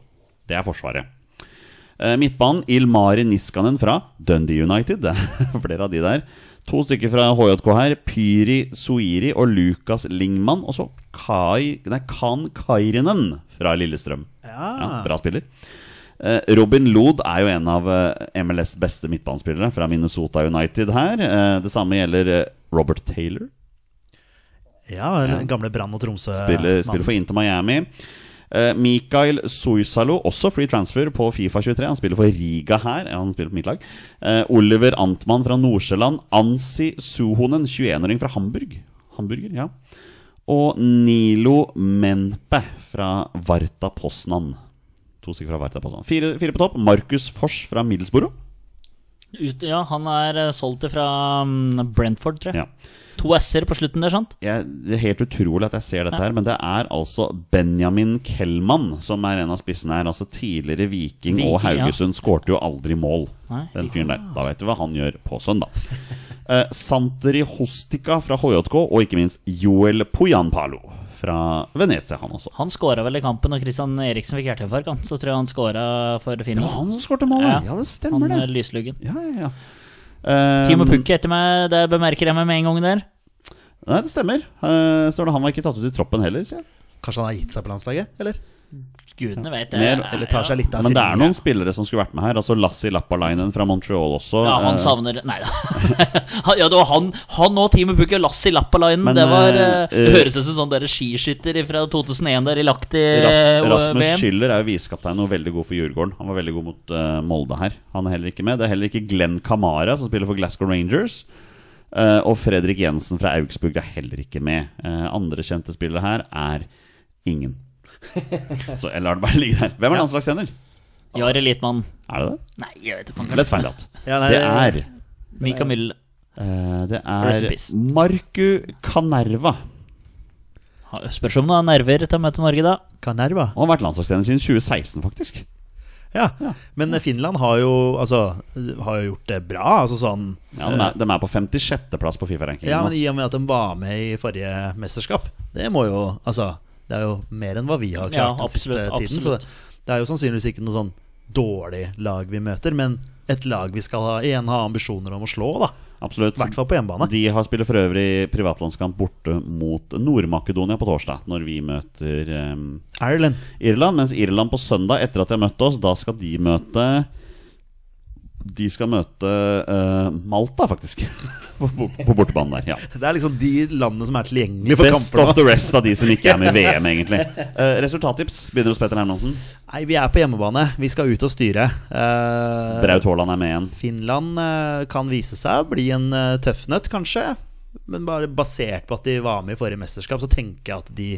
Speaker 1: Det er Forsvaret. Eh, Midtbanen Ilmari Niskanen fra Dundee United. (laughs) Det er flere av de der. To stykker fra HJK her. Pyri Suiri og Lukas Lingman. Og så Kai, nei, Kan Kairinen fra Lillestrøm. Ja, bra spiller. Eh, Robin Lod er jo en av eh, MLS beste midtbanespillere fra Minnesota United her. Eh, Det samme gjelder eh, Robert Taylor.
Speaker 2: Ja, den gamle Brann og Tromsø.
Speaker 1: Spiller, spiller for Inter Miami. Eh, Mikael Soysalo, også free transfer på Fifa 23. Han spiller for Riga her. Ja, han spiller på mitt lag. Eh, Oliver Antmann fra Nordsjælland. Ansi Suhonen, 21-åring fra Hamburg. Hamburger, ja. Og Nilo Menpe fra Varta Poznan. To stykker fra Varta Poznan. Fire, fire på topp. Markus Fors fra Middlesbrough.
Speaker 3: Ut, ja, han er eh, solgt til fra mm, Brentford, tror jeg.
Speaker 1: Ja.
Speaker 3: To S-er på slutten der, sant?
Speaker 1: jeg, det er helt utrolig at jeg ser dette her, men det er altså Benjamin Kellmann som er en av spissene her. Altså tidligere Viking, og
Speaker 3: Viking, ja.
Speaker 1: Haugesund skårte jo aldri mål,
Speaker 3: Nei,
Speaker 1: den
Speaker 3: ikke
Speaker 1: fyren der. Da vet du hva han gjør på søndag. Eh, Santeri Hostika fra HJK, og ikke minst Joel Poyanpalo fra Venezia, han også.
Speaker 3: Han skåra vel i kampen, og Christian Eriksen fikk hjerteinfarkt, han. Så tror jeg han skåra for
Speaker 1: Det var
Speaker 3: Finland.
Speaker 1: han som skårte målet!
Speaker 3: Ja.
Speaker 1: Ja, det
Speaker 3: Han
Speaker 1: stemmer,
Speaker 3: er
Speaker 1: det.
Speaker 3: lysluggen.
Speaker 1: Ja, ja, ja. Eh,
Speaker 3: Timo Pukki etter meg, det bemerker jeg meg med en gang der.
Speaker 1: Nei, det stemmer. Eh, står det Han var ikke tatt ut i troppen heller, sier jeg.
Speaker 2: Kanskje han har gitt seg på landslaget? Eller
Speaker 3: Gudene vet det.
Speaker 1: Mer-
Speaker 3: er-
Speaker 2: Eller tar seg litt av
Speaker 1: Men det er
Speaker 2: siden.
Speaker 1: noen spillere som skulle vært med her. Altså Lassi Lappalainen fra Montreal også.
Speaker 3: Ja, han
Speaker 1: Eh,
Speaker 3: savner Nei da. (laughs) Han- ja, det var han, han og Team Booker Lassi Lappalainen.
Speaker 1: Men,
Speaker 3: Det var
Speaker 1: eh,
Speaker 3: eh, Det
Speaker 1: eh,
Speaker 3: høres ut som sånn der skiskytter fra 2001 der i Lahti eh,
Speaker 1: Ras Rasmus
Speaker 3: VM.
Speaker 1: Schiller er jo visekaptein og veldig god for Djurgården. Han var veldig god mot eh, Molde her. Han er heller ikke med. Det er heller ikke Glenn Kamara, som spiller for Glasgow Rangers. Eh, og Fredrik Jensen fra Augsburg er heller ikke med. Eh, andre kjente spillere her er ingen.
Speaker 3: (laughs)
Speaker 1: Så jeg lar det bare ligge der. Hvem er landslagstrener?
Speaker 3: Jarl Elitmann.
Speaker 1: Er det det?
Speaker 3: Nei, jeg vet ikke.
Speaker 1: Let's find out.
Speaker 2: Ja, nei,
Speaker 1: det er
Speaker 3: Mika Myll
Speaker 1: Eh, det
Speaker 3: Rest
Speaker 1: er
Speaker 3: in peace.
Speaker 1: Marku Kanerva.
Speaker 3: Ha- Spørs om du har nerver til å møte Norge, da.
Speaker 2: Kanerva.
Speaker 1: Han har vært landslagstrener siden 2016, faktisk.
Speaker 2: Ja. Men Finland har jo, altså, har jo gjort det bra. Altså sånn
Speaker 1: Ja, De er, de er på 56.-plass på Fifa-rankingen.
Speaker 2: Ja,
Speaker 1: nå.
Speaker 2: men i og med at de var med i forrige mesterskap Det må jo, altså Det er jo mer enn hva vi har klart
Speaker 3: Ja,
Speaker 2: den siste
Speaker 3: absolutt,
Speaker 2: tiden Så det, det er jo sannsynligvis ikke noe sånn dårlig lag vi møter Men et lag vi skal ha, igjen ha ambisjoner om å slå da
Speaker 1: Absolutt.
Speaker 2: I hvert fall på hjemmebane
Speaker 1: De har spiller for øvrig privatlandskamp borte mot Nord-Makedonia på torsdag, når vi møter eh,
Speaker 2: Ireland
Speaker 1: Irland. Mens Irland på søndag, etter at de har møtt oss, da skal de møte De skal møte eh, Malta, faktisk. (laughs) På, på, på bortebanen der. ja
Speaker 2: Det er liksom de landene som er tilgjengelige for
Speaker 1: Best
Speaker 2: kamper nå
Speaker 1: of the rest av de som ikke
Speaker 2: (laughs)
Speaker 1: er med i VM, egentlig. Eh, resultattips begynner hos Petter Hermansen.
Speaker 2: Nei, vi er på hjemmebane Vi skal ut og styre Eh,
Speaker 1: Braut Haaland er med igjen.
Speaker 2: Finland eh, kan vise seg å bli en eh, tøff nøtt, kanskje. Men bare basert på at de var med i forrige mesterskap, så tenker jeg at de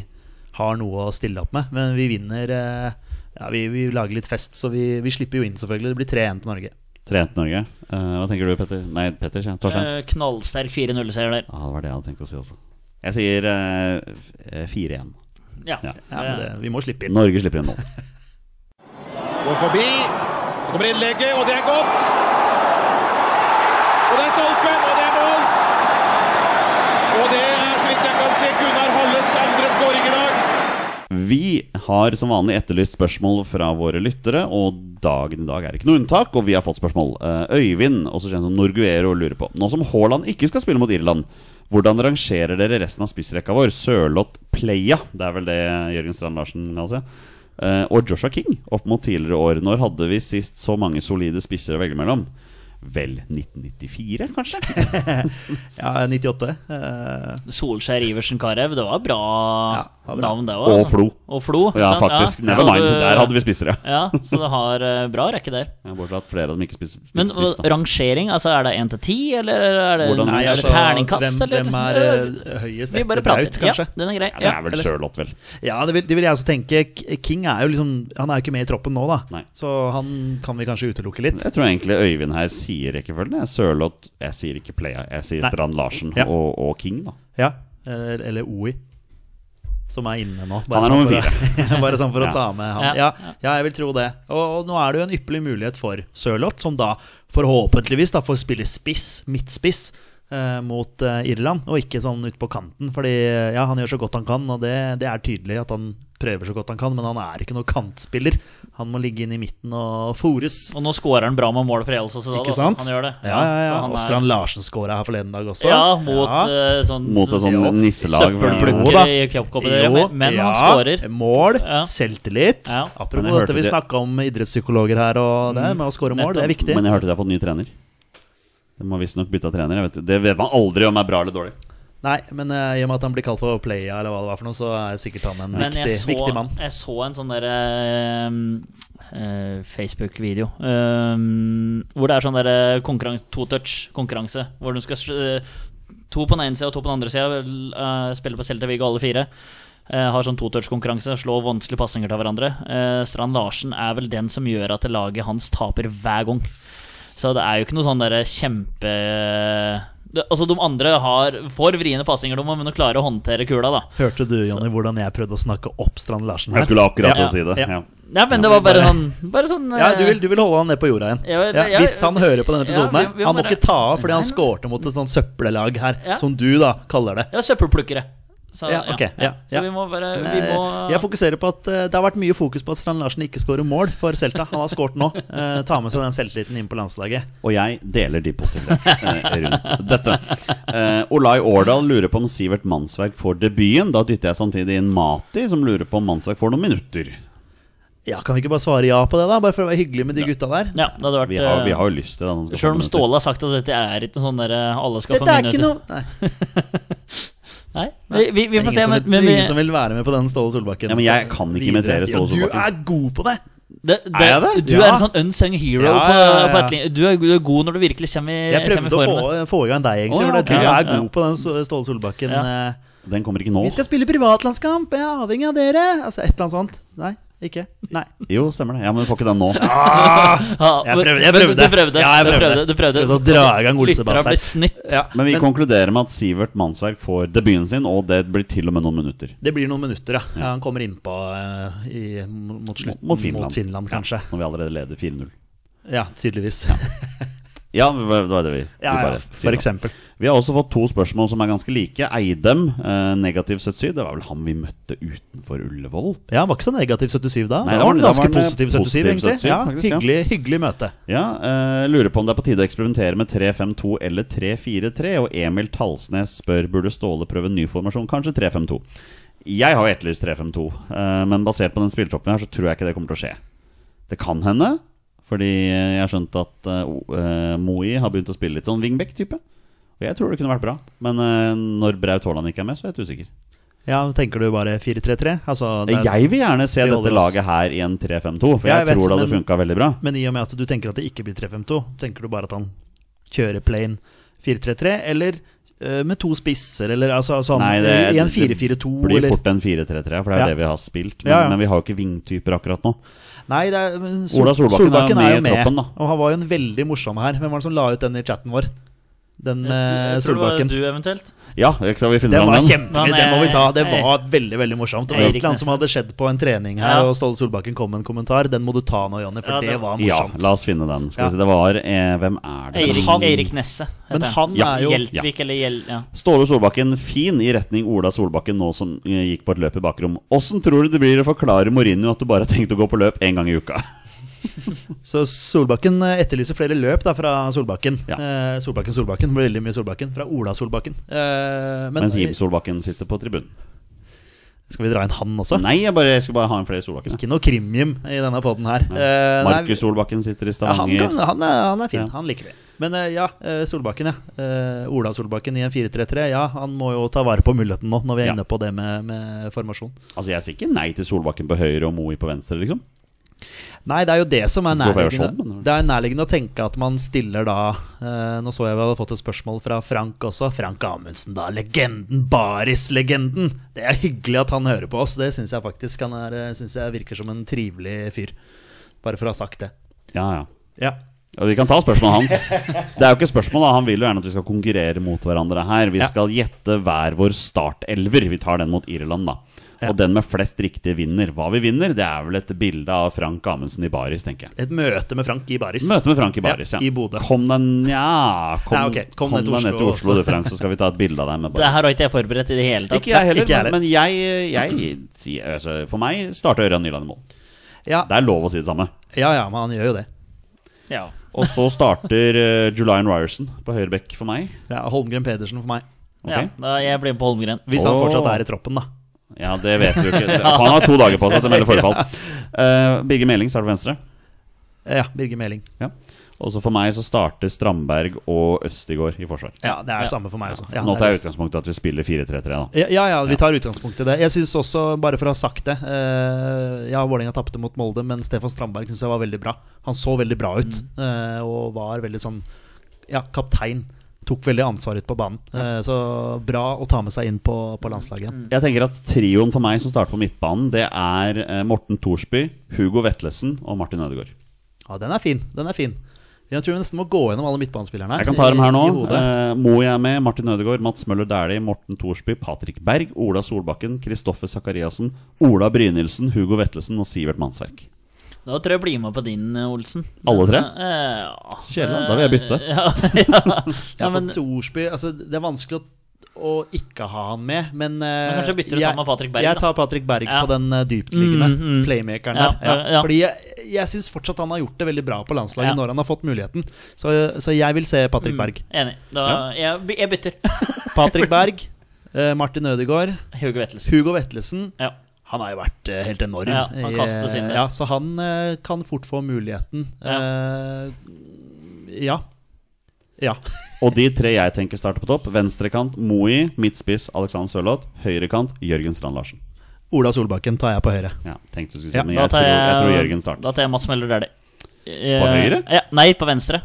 Speaker 2: har noe å stille opp med. Men vi vinner eh, Ja, vi, vi lager litt fest, så vi, vi slipper jo inn, selvfølgelig. Det blir 3-1 til Norge.
Speaker 1: 3-1 til Norge. Eh, hva tenker du, Petter? Nei, Petter, sier jeg. Torstein?
Speaker 3: Eh, Knallsterk 4-0-seier der.
Speaker 1: Ja, det var det jeg hadde tenkt å si også. Jeg sier eh, eh, 4-1.
Speaker 3: Ja.
Speaker 1: Ja.
Speaker 2: Ja, men det, vi må slippe inn.
Speaker 1: Norge slipper inn mål.
Speaker 4: Går forbi. Så kommer innlegget, og det er godt. Og det er stolpen, og det er mål. Og det er, så vidt jeg kan se, Gunnar Halles andre skåring i dag.
Speaker 1: Vi har som vanlig etterlyst spørsmål fra våre lyttere, og dagen i dag er ikke noe unntak, og vi har fått spørsmål. Eh, Øyvind, også kjent som Norguero, lurer på Nå som Haaland ikke skal spille mot Irland, hvordan rangerer dere resten av spissrekka vår? Sørloth Playa, det er vel det Jørgen Strand Larsen kan se. eh, Og Joshua King opp mot tidligere år. Når hadde vi sist så mange solide spisser å velge mellom? Vel 1994, kanskje?
Speaker 2: Ja, 98. eh,
Speaker 3: Solskjær Iversen Carew, det var bra
Speaker 2: Ja, det var bra.
Speaker 3: navn, det òg.
Speaker 1: Og Flo.
Speaker 3: Og Flo ikke
Speaker 1: Ja,
Speaker 3: sant?
Speaker 1: faktisk. Never
Speaker 3: så
Speaker 1: mind.
Speaker 3: du-
Speaker 1: Der hadde vi spissere.
Speaker 3: Ja, så du har eh, bra rekke der.
Speaker 1: Ja, Bortsett fra at flere av dem ikke spiser
Speaker 3: Men
Speaker 1: spiser spiss,
Speaker 3: hva-
Speaker 1: da.
Speaker 3: rangering, altså er det 1 til 10, eller er det,
Speaker 1: Hvordan-
Speaker 3: nei, er det
Speaker 1: altså,
Speaker 3: terningkast,
Speaker 2: hvem,
Speaker 3: eller?
Speaker 2: Hvem er eh, høyest
Speaker 3: vi bare
Speaker 2: etter
Speaker 3: prater.
Speaker 2: Braut, kanskje?
Speaker 3: Ja, den er grei.
Speaker 1: Ja, det
Speaker 3: Ja,
Speaker 1: er vel
Speaker 3: eller-
Speaker 1: Sørloth, vel.
Speaker 2: Ja, det vil, det vil jeg også tenke. K- King er jo liksom Han er jo ikke med i troppen nå, da.
Speaker 1: Nei.
Speaker 2: Så han kan vi kanskje utelukke litt.
Speaker 1: Jeg tror egentlig Øyvind her sier rekkefølgen. Jeg Sørloth Jeg sier ikke Playa. Jeg sier
Speaker 2: Nei.
Speaker 1: Strand Larsen
Speaker 2: Ja.
Speaker 1: og, og King, da.
Speaker 2: Ja, eller, eller OI. Som er inne nå.
Speaker 1: Han er
Speaker 2: sånn
Speaker 1: nummer
Speaker 2: (laughs) for å- bare sånn for
Speaker 1: Ja.
Speaker 2: å ta med han. Ja,
Speaker 3: Ja.
Speaker 2: ja jeg vil tro det. Og, og nå er det jo en ypperlig mulighet for Sørloth, som da forhåpentligvis da får spille spiss, midtspiss, eh, mot eh, Irland. Og ikke sånn ut på kanten, fordi ja, han gjør så godt han kan, og det, det er tydelig at han prøver så godt han kan, men han er ikke noen kantspiller. Han må ligge inn i midten og fores.
Speaker 3: Og nå scorer han bra med mål for Real Sociedad.
Speaker 2: Ikke
Speaker 3: altså.
Speaker 2: sant?
Speaker 3: Han gjør det.
Speaker 2: Ja, ja, ja.
Speaker 3: Så han er-
Speaker 2: Åstrand Larsen scora her forleden dag også.
Speaker 3: Ja, mot
Speaker 2: Ja.
Speaker 3: eh, sånn
Speaker 1: Mot et
Speaker 3: sånn
Speaker 1: sånt nisselag.
Speaker 2: Jo da.
Speaker 3: søppelplukker i cupcupen. dere, Men, men han scorer.
Speaker 2: Mål,
Speaker 3: Ja.
Speaker 2: selvtillit.
Speaker 3: Ja.
Speaker 1: Men
Speaker 2: Apropos
Speaker 1: jeg
Speaker 2: dette vi
Speaker 1: hørte det-
Speaker 2: snakka om idrettspsykologer her, og det med å score mål, det er viktig.
Speaker 1: Men jeg hørte de har fått ny trener. De har visstnok bytta trener. Jeg vet, det vet man aldri om er bra eller dårlig.
Speaker 2: Nei, men eh, i og med at han blir kalt for playa, eller hva det var for noe, så er sikkert han en
Speaker 3: Men
Speaker 2: viktig,
Speaker 3: jeg så,
Speaker 2: viktig mann.
Speaker 3: jeg så en sånn derre Facebook-video ehm, hvor det er sånn derre konkurranse, to-touch-konkurranse. Hvor du skal eh, to på den ene sida og to på den andre sida, uh, spille på Celta Viggo alle fire. Eh, har sånn to-touch-konkurranse, slå vanskelige passinger til hverandre. Eh, Strand Larsen er vel den som gjør at laget hans taper hver gang. Så det er jo ikke noe sånn derre kjempe det, Altså, de andre har, får vriene passinger, de må men de klarer å håndtere kula, da.
Speaker 2: Hørte du, Jonny, hvordan jeg prøvde å snakke opp Strand Larsen
Speaker 1: Jeg
Speaker 2: her?
Speaker 1: skulle akkurat til
Speaker 3: Ja,
Speaker 1: å si det.
Speaker 2: ja.
Speaker 1: Ja.
Speaker 3: Nei, men det var bare sånn Bare sånn
Speaker 2: Ja, du
Speaker 3: eh,
Speaker 2: vil, du vil holde han ned på jorda igjen.
Speaker 3: Ja, vel,
Speaker 2: Ja,
Speaker 3: ja,
Speaker 2: hvis han hører på denne
Speaker 3: ja,
Speaker 2: episoden her.
Speaker 3: vi- vi må
Speaker 2: Han må
Speaker 3: bare-
Speaker 2: ikke ta av fordi han skårte mot et sånt søppellag her,
Speaker 3: Ja.
Speaker 2: som du da kaller det.
Speaker 3: Ja, søppelplukkere. Så,
Speaker 2: Ja, ok, ja, ja.
Speaker 3: Så vi må bare
Speaker 2: Men,
Speaker 3: Vi må
Speaker 2: eh, Jeg fokuserer på at eh, det har vært mye fokus på at Strand Larsen ikke skårer mål for Celta. Han har skåret nå. Eh, Ta med seg den selvtilliten inn på landslaget.
Speaker 1: Og jeg deler de positivitet eh, rundt dette. Eh, Olai Årdal lurer på om Sivert Mannsverk får debuten. Da dytter jeg samtidig inn Mati, som lurer på om Mannsverk får noen minutter.
Speaker 2: Ja, Kan vi ikke bare svare ja på det, da? Bare for å være hyggelig med de gutta der.
Speaker 3: Ja, det hadde vært
Speaker 1: Vi har, vi
Speaker 3: eh,
Speaker 1: har jo lyst til det. at han skal få
Speaker 3: Selv om
Speaker 1: minutter.
Speaker 3: Ståle har sagt at dette er ikke noe sånn derre alle skal
Speaker 2: Dette
Speaker 3: få
Speaker 2: er ikke
Speaker 3: minutter.
Speaker 2: noe Nei,
Speaker 3: Nei, vi, vi, vi
Speaker 2: det er
Speaker 3: får se,
Speaker 2: ingen, som
Speaker 3: men,
Speaker 2: vil,
Speaker 3: men vi,
Speaker 2: ingen som vil være med på den Ståle Solbakken.
Speaker 1: Ja, men jeg kan ikke imitere Ståle Solbakken.
Speaker 2: Ja, du er god på det!
Speaker 3: det, det,
Speaker 1: Er jeg det?
Speaker 3: Du er
Speaker 2: Ja.
Speaker 3: en sånn unsung hero
Speaker 2: Ja,
Speaker 3: på,
Speaker 2: ja, ja,
Speaker 3: på
Speaker 2: ja.
Speaker 3: et linje. Du er, du er god når du virkelig kommer i
Speaker 2: Jeg
Speaker 3: kommer
Speaker 2: prøvde å
Speaker 3: i
Speaker 2: få,
Speaker 3: formen.
Speaker 2: få i gang deg,
Speaker 1: Å,
Speaker 2: egentlig.
Speaker 1: ja,
Speaker 2: for jeg
Speaker 1: ok,
Speaker 2: tror
Speaker 1: ja,
Speaker 2: du er
Speaker 1: ja.
Speaker 2: god på den S- Ståle Solbakken.
Speaker 3: Ja.
Speaker 2: eh,
Speaker 1: Den kommer ikke nå.
Speaker 2: Vi skal spille privatlandskamp, jeg er avhengig av dere! Altså et eller annet sånt. Nei. Ikke? Nei.
Speaker 1: Jo, stemmer det. Ja, Men du får ikke den nå.
Speaker 3: Ja,
Speaker 2: Jeg prøvde.
Speaker 3: men-
Speaker 2: Jeg
Speaker 3: men
Speaker 2: prøvde.
Speaker 3: Du prøvde.
Speaker 2: Ja, jeg
Speaker 3: Du
Speaker 2: prøvde.
Speaker 3: prøvde. Du prøvde.
Speaker 2: Prøvde å dra i gang Ole
Speaker 3: Lyttere
Speaker 2: Sebastian.
Speaker 3: ble snytt.
Speaker 2: Ja,
Speaker 1: Men vi konkluderer med at Sivert Mannsverk får debuten sin, og det blir til og med noen minutter.
Speaker 2: Det blir noen minutter, ja. ja han kommer innpå uh, i, mot slutten.
Speaker 1: Mot Finland.
Speaker 2: Mot Finland, kanskje.
Speaker 1: Når vi allerede leder 4-0.
Speaker 2: Ja, tydeligvis.
Speaker 1: Ja, det var det vi,
Speaker 2: Ja,
Speaker 1: vi
Speaker 2: ja,
Speaker 1: bare sier
Speaker 2: for
Speaker 1: da.
Speaker 2: eksempel.
Speaker 1: Vi har også fått to spørsmål som er ganske like. Eidem, eh, negativ 77. Det var vel han vi møtte utenfor Ullevål?
Speaker 2: Ja, han var ikke så negativ 77 da.
Speaker 1: Nei,
Speaker 2: da
Speaker 1: da
Speaker 2: var
Speaker 1: var-
Speaker 2: han
Speaker 1: da var
Speaker 2: ganske
Speaker 1: han, eh,
Speaker 2: positiv 77,
Speaker 1: positiv
Speaker 2: egentlig.
Speaker 1: 77,
Speaker 2: ja,
Speaker 1: faktisk, ja.
Speaker 2: hyggelig, hyggelig møte.
Speaker 1: Ja, eh, lurer på om det er på tide å eksperimentere med 3-5-2 eller 3-4-3. Og Emil Talsnes spør burde Ståle prøve en ny formasjon, kanskje 3-5-2. Jeg har jo etterlyst 3-5-2, eh, men basert på den spilletroppen vi har, så tror jeg ikke det kommer til å skje. Det kan hende, fordi eh, jeg har skjønt at eh, O- eh, Moi har begynt å spille litt sånn wingback-type. Og jeg tror det kunne vært bra, men eh, når Braut Haaland ikke er med, så er jeg litt usikker.
Speaker 2: Ja, tenker du bare 4-3-3? Altså,
Speaker 1: Eh,
Speaker 2: det er-
Speaker 1: Jeg vil gjerne se
Speaker 2: Vi holder
Speaker 1: dette
Speaker 2: oss-
Speaker 1: laget her i en 3-5-2, for
Speaker 2: Ja,
Speaker 1: jeg,
Speaker 2: jeg vet,
Speaker 1: tror det hadde
Speaker 2: men-
Speaker 1: funka veldig bra.
Speaker 2: Men i og med at du tenker at det ikke blir 3-5-2, tenker du bare at han kjører plain 4-3-3, eller eh, med to spisser, eller altså sånn
Speaker 1: Nei,
Speaker 2: i en
Speaker 1: det
Speaker 2: 4-4-2,
Speaker 1: blir
Speaker 2: eller
Speaker 1: fort en 4-3-3, for det er
Speaker 2: Ja.
Speaker 1: det vi har spilt. Men,
Speaker 2: Ja, ja.
Speaker 1: men vi har jo ikke vingtyper akkurat nå.
Speaker 2: Nei, det er, men Sol,
Speaker 1: Ola Solbakken
Speaker 2: Solbakken,
Speaker 1: er
Speaker 2: er
Speaker 1: med
Speaker 2: jo
Speaker 1: i
Speaker 2: med,
Speaker 1: troppen, da.
Speaker 2: og han var jo en veldig morsom her. Hvem var det som la ut den i chatten vår? Den med
Speaker 3: Jeg tror det var
Speaker 2: eh, Solbakken.
Speaker 3: Du eventuelt?
Speaker 1: Ja, ikke sant, vi finner
Speaker 2: Den
Speaker 1: fram
Speaker 2: var
Speaker 1: den.
Speaker 2: kjempegøy,
Speaker 3: Men,
Speaker 2: den må vi ta. Det
Speaker 3: eh,
Speaker 2: var veldig veldig morsomt. Det var
Speaker 3: Eirik
Speaker 2: et eller annet som hadde skjedd på en trening her,
Speaker 3: Ja.
Speaker 2: og Ståle Solbakken kom med en kommentar. Den må du ta nå, Jonny, for
Speaker 3: Ja,
Speaker 2: det
Speaker 3: den-
Speaker 2: var
Speaker 1: Ja,
Speaker 2: morsomt.
Speaker 1: la oss finne den. Skal
Speaker 2: Ja.
Speaker 1: vi se, det var eh, Hvem er det
Speaker 3: Eirik,
Speaker 1: som-
Speaker 3: Eirik Nesse. heter
Speaker 2: Men han
Speaker 1: Ja,
Speaker 2: er jo
Speaker 3: Hjeltvik eller Hjel... Ja.
Speaker 1: Ståle Solbakken fin i retning Ola Solbakken nå som eh, gikk på et løp i bakrom. Åssen tror du det blir å forklare Mourinho at du bare har tenkt å gå på løp én gang i uka?
Speaker 2: Så Solbakken eh, etterlyser flere løp da fra Solbakken.
Speaker 1: Ja.
Speaker 2: Eh, Solbakken, Solbakken. Det ble veldig mye Solbakken. Fra Ola Solbakken. Eh, (laughs) men
Speaker 1: Mens Jim Solbakken sitter på tribunen.
Speaker 2: skal vi dra inn han også?
Speaker 1: Nei, jeg, bare, jeg skulle bare ha en flere Solbakken. jeg.
Speaker 2: Ikke noe krimjim i denne poden her. Eh, nei,
Speaker 1: Markus Solbakken sitter i
Speaker 2: ja, han,
Speaker 1: Stavanger.
Speaker 2: kan, han, er, han er fin.
Speaker 1: Ja.
Speaker 2: Han liker vi. Men eh, ja, eh, Solbakken, ja. Eh, Ola Solbakken i en 4-3-3. Ja, han må jo ta vare på muligheten nå, når vi er
Speaker 1: Ja.
Speaker 2: inne på det med, med formasjon.
Speaker 1: Altså, Jeg sier ikke nei til Solbakken på høyre og Moi på venstre, liksom.
Speaker 2: Nei, det er jo det som er
Speaker 1: Hvorfor er det
Speaker 2: nærliggende.
Speaker 1: sånn, men-
Speaker 2: Det er nærliggende å tenke at man stiller da eh, Nå så jeg vi hadde fått et spørsmål fra Frank også. Frank Amundsen, da. Legenden. Baris-legenden. Det er hyggelig at han hører på oss. Det syns jeg faktisk. Han er, eh, synes jeg virker som en trivelig fyr. Bare for å ha sagt det.
Speaker 1: Ja, ja.
Speaker 2: Ja.
Speaker 1: Ja, vi kan ta spørsmålet hans. Det er jo ikke spørsmål, da. Han vil jo gjerne at vi skal konkurrere mot hverandre her. Vi
Speaker 2: Ja.
Speaker 1: skal gjette hver vår startelver. Vi tar den mot Irland, da.
Speaker 2: Ja.
Speaker 1: Og den med flest riktige vinner. Hva vi vinner, det er vel et bilde av Frank Amundsen i baris, tenker jeg.
Speaker 2: Et møte med Frank i Baris.
Speaker 1: Møte med Frank i baris,
Speaker 2: Ja,
Speaker 1: ja.
Speaker 2: i Bodø.
Speaker 1: Kom den ja, kom,
Speaker 2: Nei, ok. Kom
Speaker 1: kom
Speaker 2: ned til
Speaker 1: deg ned til
Speaker 2: Oslo
Speaker 1: Oslo,
Speaker 2: også.
Speaker 1: du, Frank, så skal vi ta et bilde av deg med
Speaker 3: Det
Speaker 1: baris.
Speaker 3: her har ikke jeg forberedt i det hele tatt.
Speaker 1: Ikke jeg heller,
Speaker 2: Ikke jeg heller.
Speaker 1: men men jeg, jeg sier- altså, For meg starta Ørjan Nyland i mål.
Speaker 2: Ja.
Speaker 1: Det er lov å si det samme.
Speaker 2: ja ja, men han gjør jo det.
Speaker 3: Ja.
Speaker 1: Og så starter eh, Julian Ryerson på høyreback for meg.
Speaker 2: Ja, Holmgren Pedersen for meg.
Speaker 1: Ok?
Speaker 3: ja da, jeg ble med på Holmgren.
Speaker 2: Hvis han
Speaker 1: Åh.
Speaker 2: fortsatt er i troppen, da.
Speaker 1: Ja, det vet vi jo ikke. Han har to dager på seg til å melde forfall. Eh, Birger Meling starter på venstre.
Speaker 2: Ja, Birger Meling.
Speaker 1: Ja. Og så for meg så starter Strandberg og Østigård i forsvar.
Speaker 2: Ja, det er
Speaker 3: Ja.
Speaker 2: det samme for meg også. Ja,
Speaker 1: Nå
Speaker 2: det er
Speaker 1: tar
Speaker 2: det.
Speaker 1: jeg utgangspunktet at vi spiller 4-3-3, da.
Speaker 2: Ja, ja, ja, vi tar utgangspunkt i det. Jeg synes også, bare for å ha sagt det eh, Ja, Vålerenga tapte mot Molde, men Stefan Strandberg synes jeg var veldig bra. Han så veldig bra ut,
Speaker 1: Mm.
Speaker 2: eh, og var veldig sånn Ja, kaptein. Tok veldig ansvar ut på banen. Eh, så bra å ta med seg inn på, på landslaget.
Speaker 1: Jeg tenker at Trioen for meg som starter på midtbanen, det er eh, Morten Thorsby, Hugo Vetlesen og Martin Ødegaard.
Speaker 2: Ja, den er fin. Den er fin. Jeg tror vi nesten må gå gjennom alle midtbanespillerne her.
Speaker 1: Jeg kan ta dem her
Speaker 2: i-
Speaker 1: nå.
Speaker 2: i hodet.
Speaker 1: Eh, Moe er med, Martin Ødegaard, Mats Møller Dæhlie, Morten Thorsby, Patrik Berg, Ola Solbakken, Kristoffer Sakariassen, Ola Brynildsen, Hugo Vetlesen og Sivert Mannsverk.
Speaker 3: Da tror jeg jeg blir med på din, Olsen.
Speaker 1: Alle tre?
Speaker 3: Eh, ja.
Speaker 1: Så kjedelig, da vil jeg bytte.
Speaker 3: (laughs) Ja, ja.
Speaker 2: ja,
Speaker 3: ja, men,
Speaker 2: for Thorsby altså, Det er vanskelig å, å ikke ha han med, men eh,
Speaker 3: Men kanskje bytter du sammen med Patrick Berg,
Speaker 2: Jeg
Speaker 3: da?
Speaker 2: tar Patrick Berg
Speaker 3: Ja.
Speaker 2: på den eh, dyptliggende
Speaker 3: Mm, mm.
Speaker 2: playmakeren
Speaker 3: Ja,
Speaker 2: der. Ja.
Speaker 3: ja, ja.
Speaker 2: Fordi jeg, jeg syns fortsatt han har gjort det veldig bra på landslaget
Speaker 3: Ja. Mm.
Speaker 2: når han har fått muligheten. Så, så jeg vil se Patrick Berg.
Speaker 3: enig. Da, jeg, by- jeg bytter. (laughs)
Speaker 2: Patrick Berg, (laughs) eh, Martin Ødegaard,
Speaker 3: Hauge Vettelsen.
Speaker 2: Hugo Vetlesen.
Speaker 3: Ja.
Speaker 2: Han har jo vært eh, helt enorm.
Speaker 3: Ja, han
Speaker 2: i,
Speaker 3: kastes inn der.
Speaker 2: ja, så han eh, kan fort få muligheten. Eh, ja. Ja.
Speaker 1: Og de tre jeg tenker starter på topp. Venstrekant Moi, midtspiss Alexander Sørloth. Høyrekant Jørgen Strand Larsen.
Speaker 2: Ola Solbakken tar jeg på høyre.
Speaker 1: Ja, tenkte du skulle si,
Speaker 2: Ja,
Speaker 1: men
Speaker 3: Da
Speaker 1: jeg
Speaker 3: tar
Speaker 1: tror, jeg tror Jørgen starter.
Speaker 3: Eh, Da tar jeg Mats Møller Dæhlie.
Speaker 1: På høyre?
Speaker 3: Ja, nei, på venstre.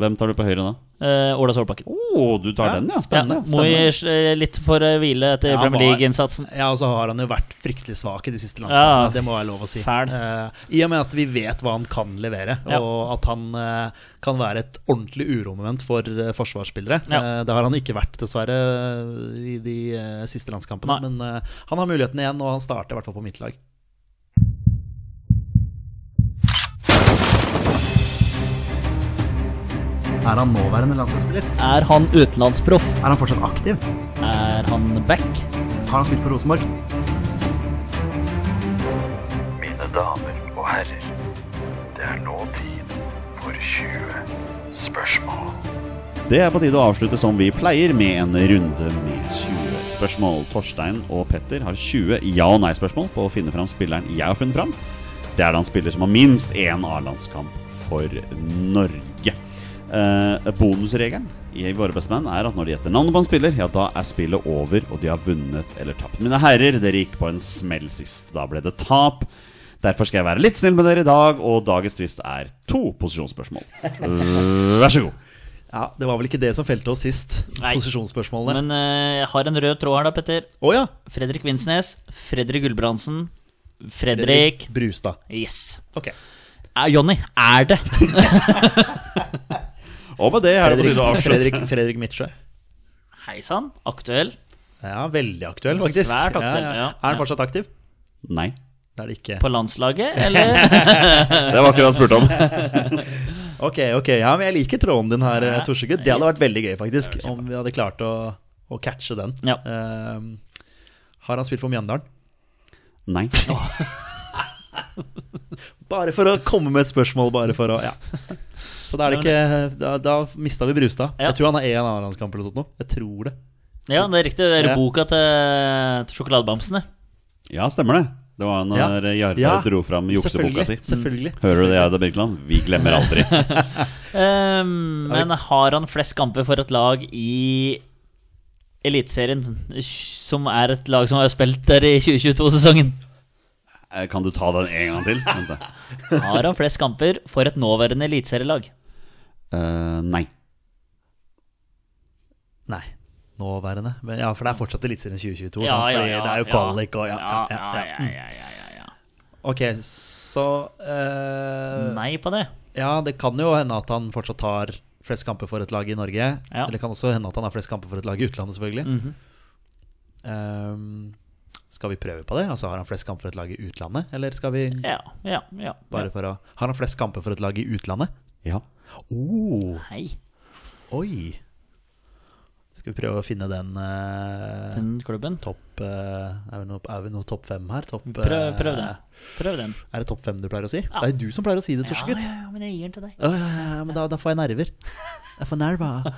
Speaker 1: Hvem tar du på høyre da?
Speaker 3: Eh, Ola Solbakken.
Speaker 1: Å, du tar den, ja. Spennende.
Speaker 3: Ja, må
Speaker 1: spennende.
Speaker 3: gi eh, litt for eh, hvile etter
Speaker 2: Ja, han
Speaker 3: Premier
Speaker 2: var-
Speaker 3: League-innsatsen.
Speaker 2: Ja, og så har han jo vært fryktelig svak i de siste
Speaker 3: Ja.
Speaker 2: landskampene. Det må være lov å si.
Speaker 3: Fæl.
Speaker 2: Eh, I og med at vi vet hva han kan levere,
Speaker 3: Ja.
Speaker 2: og at han eh, kan være et ordentlig uromoment for eh, forsvarsspillere.
Speaker 3: Ja.
Speaker 2: Eh, det har han ikke vært, dessverre, i de eh, siste landskampene.
Speaker 3: Nei.
Speaker 2: Men eh, han har muligheten igjen, og han starter i hvert fall på mitt lag. Er han nåværende landslagsspiller?
Speaker 3: Er han utenlandsproff?
Speaker 2: Er han fortsatt aktiv?
Speaker 3: Er han back?
Speaker 2: Har han spilt for Rosenborg?
Speaker 5: Mine damer og herrer, det er nå tid for 20 spørsmål.
Speaker 1: Det er på tide å avslutte som vi pleier, med en runde med 20 spørsmål. Torstein og Petter har 20 ja- og nei-spørsmål på å finne fram spilleren jeg har funnet fram. Det er da en spiller som har minst én A-landskamp for Norge. Eh, bonusregelen i Våre bestemenn er at når de gjetter navnet på en spiller, ja, da er spillet over, og de har vunnet eller tapt. Mine herrer, dere gikk på en smell sist. Da ble det tap. Derfor skal jeg være litt snill med dere i dag, og dagens twist er to posisjonsspørsmål. Vær så god.
Speaker 2: Ja, Det var vel ikke det som felte oss sist,
Speaker 3: Nei.
Speaker 2: posisjonsspørsmålene.
Speaker 3: Men eh, jeg har en rød tråd her, da, Petter.
Speaker 2: Å ja!
Speaker 3: Fredrik Vinsnes, Fredrik Gulbrandsen, Fredrik
Speaker 2: Brustad.
Speaker 3: Yes.
Speaker 2: Ok.
Speaker 3: Er, Jonny, er det?
Speaker 1: Og med det er det på
Speaker 2: Fredrik,
Speaker 1: tide å avslutte.
Speaker 2: Fredrik, Fredrik Midtsjø.
Speaker 3: Hei sann, aktuell.
Speaker 2: Ja, veldig aktuell, faktisk.
Speaker 3: Svært aktuell, ja.
Speaker 2: Er han fortsatt aktiv?
Speaker 1: Nei.
Speaker 2: Det er det ikke.
Speaker 3: På landslaget, eller?
Speaker 2: (laughs)
Speaker 1: Det var ikke det jeg spurte om.
Speaker 2: Ok, ok, ja, men jeg liker tråden din her,
Speaker 3: Ja,
Speaker 2: Torsegutt. Det hadde vært veldig gøy, faktisk, om vi hadde klart å, å catche den.
Speaker 3: Ja.
Speaker 2: Ehm, har han spilt for Mjøndalen?
Speaker 1: Nei.
Speaker 2: Bare for å komme med et spørsmål, bare for å
Speaker 3: (laughs)
Speaker 2: Ja. Så da er det ikke Da, da mista vi Brustad.
Speaker 3: Ja.
Speaker 2: Jeg tror han har én A-landskamp eller noe sånt nå. Jeg tror det.
Speaker 3: Ja, det er riktig. Det er
Speaker 2: Ja.
Speaker 3: boka til, til sjokoladebamsene.
Speaker 1: Ja, stemmer det. Det var når
Speaker 2: Ja.
Speaker 1: Jarle
Speaker 2: Ja.
Speaker 1: dro fram jukseboka si.
Speaker 2: Selvfølgelig.
Speaker 3: Mm.
Speaker 2: selvfølgelig.
Speaker 1: Hører du det, Aida Birkeland? Vi glemmer
Speaker 2: (laughs)
Speaker 1: aldri.
Speaker 3: Ehm, men har han flest kamper for et lag i Eliteserien, som er et lag som har spilt der i 2022-sesongen?
Speaker 1: Eh, Kan du ta den en gang til? Vent da.
Speaker 3: Har han flest kamper for et nåværende eliteserielag?
Speaker 1: Eh, nei.
Speaker 2: Nei. Nåværende. Men, ja, for det er fortsatt Eliteserien 2022.
Speaker 3: Ja,
Speaker 2: sant?
Speaker 3: ja,
Speaker 2: Fordi
Speaker 3: ja,
Speaker 2: det er jo
Speaker 3: ja.
Speaker 2: kvalik og ja.
Speaker 3: Ja,
Speaker 2: ja, ja, ja.
Speaker 3: ja, ja, ja, ja.
Speaker 2: Ok, så eh,
Speaker 3: Nei på det.
Speaker 2: Ja, det kan jo hende at han fortsatt har flest kamper for et lag i Norge.
Speaker 3: Ja. Mhm.
Speaker 2: Eller det kan også hende at han har flest kamper for et lag i utlandet, selvfølgelig. Ehm, skal vi prøve på det? Altså, Har han flest kamper for et lag i utlandet? Eller skal vi
Speaker 3: Ja, ja, ja.
Speaker 2: bare for å Har han flest kamper for et lag i utlandet?
Speaker 1: Ja.
Speaker 2: Oh,
Speaker 3: Nei.
Speaker 2: oi! Skal vi prøve å finne den eh,
Speaker 3: Den klubben.
Speaker 2: topp eh, Er vi nå er vi nå topp fem her? Topp, eh,
Speaker 3: Prøv, prøv den. Prøv den.
Speaker 2: Er det topp fem du pleier å si? Det er jo du som pleier å si det, Torsegutt.
Speaker 3: Ja, ja, men jeg gir den til deg.
Speaker 2: Ja, ja, ja, ja, men da, da får jeg nerver. Jeg får
Speaker 3: (laughs)
Speaker 2: nerver.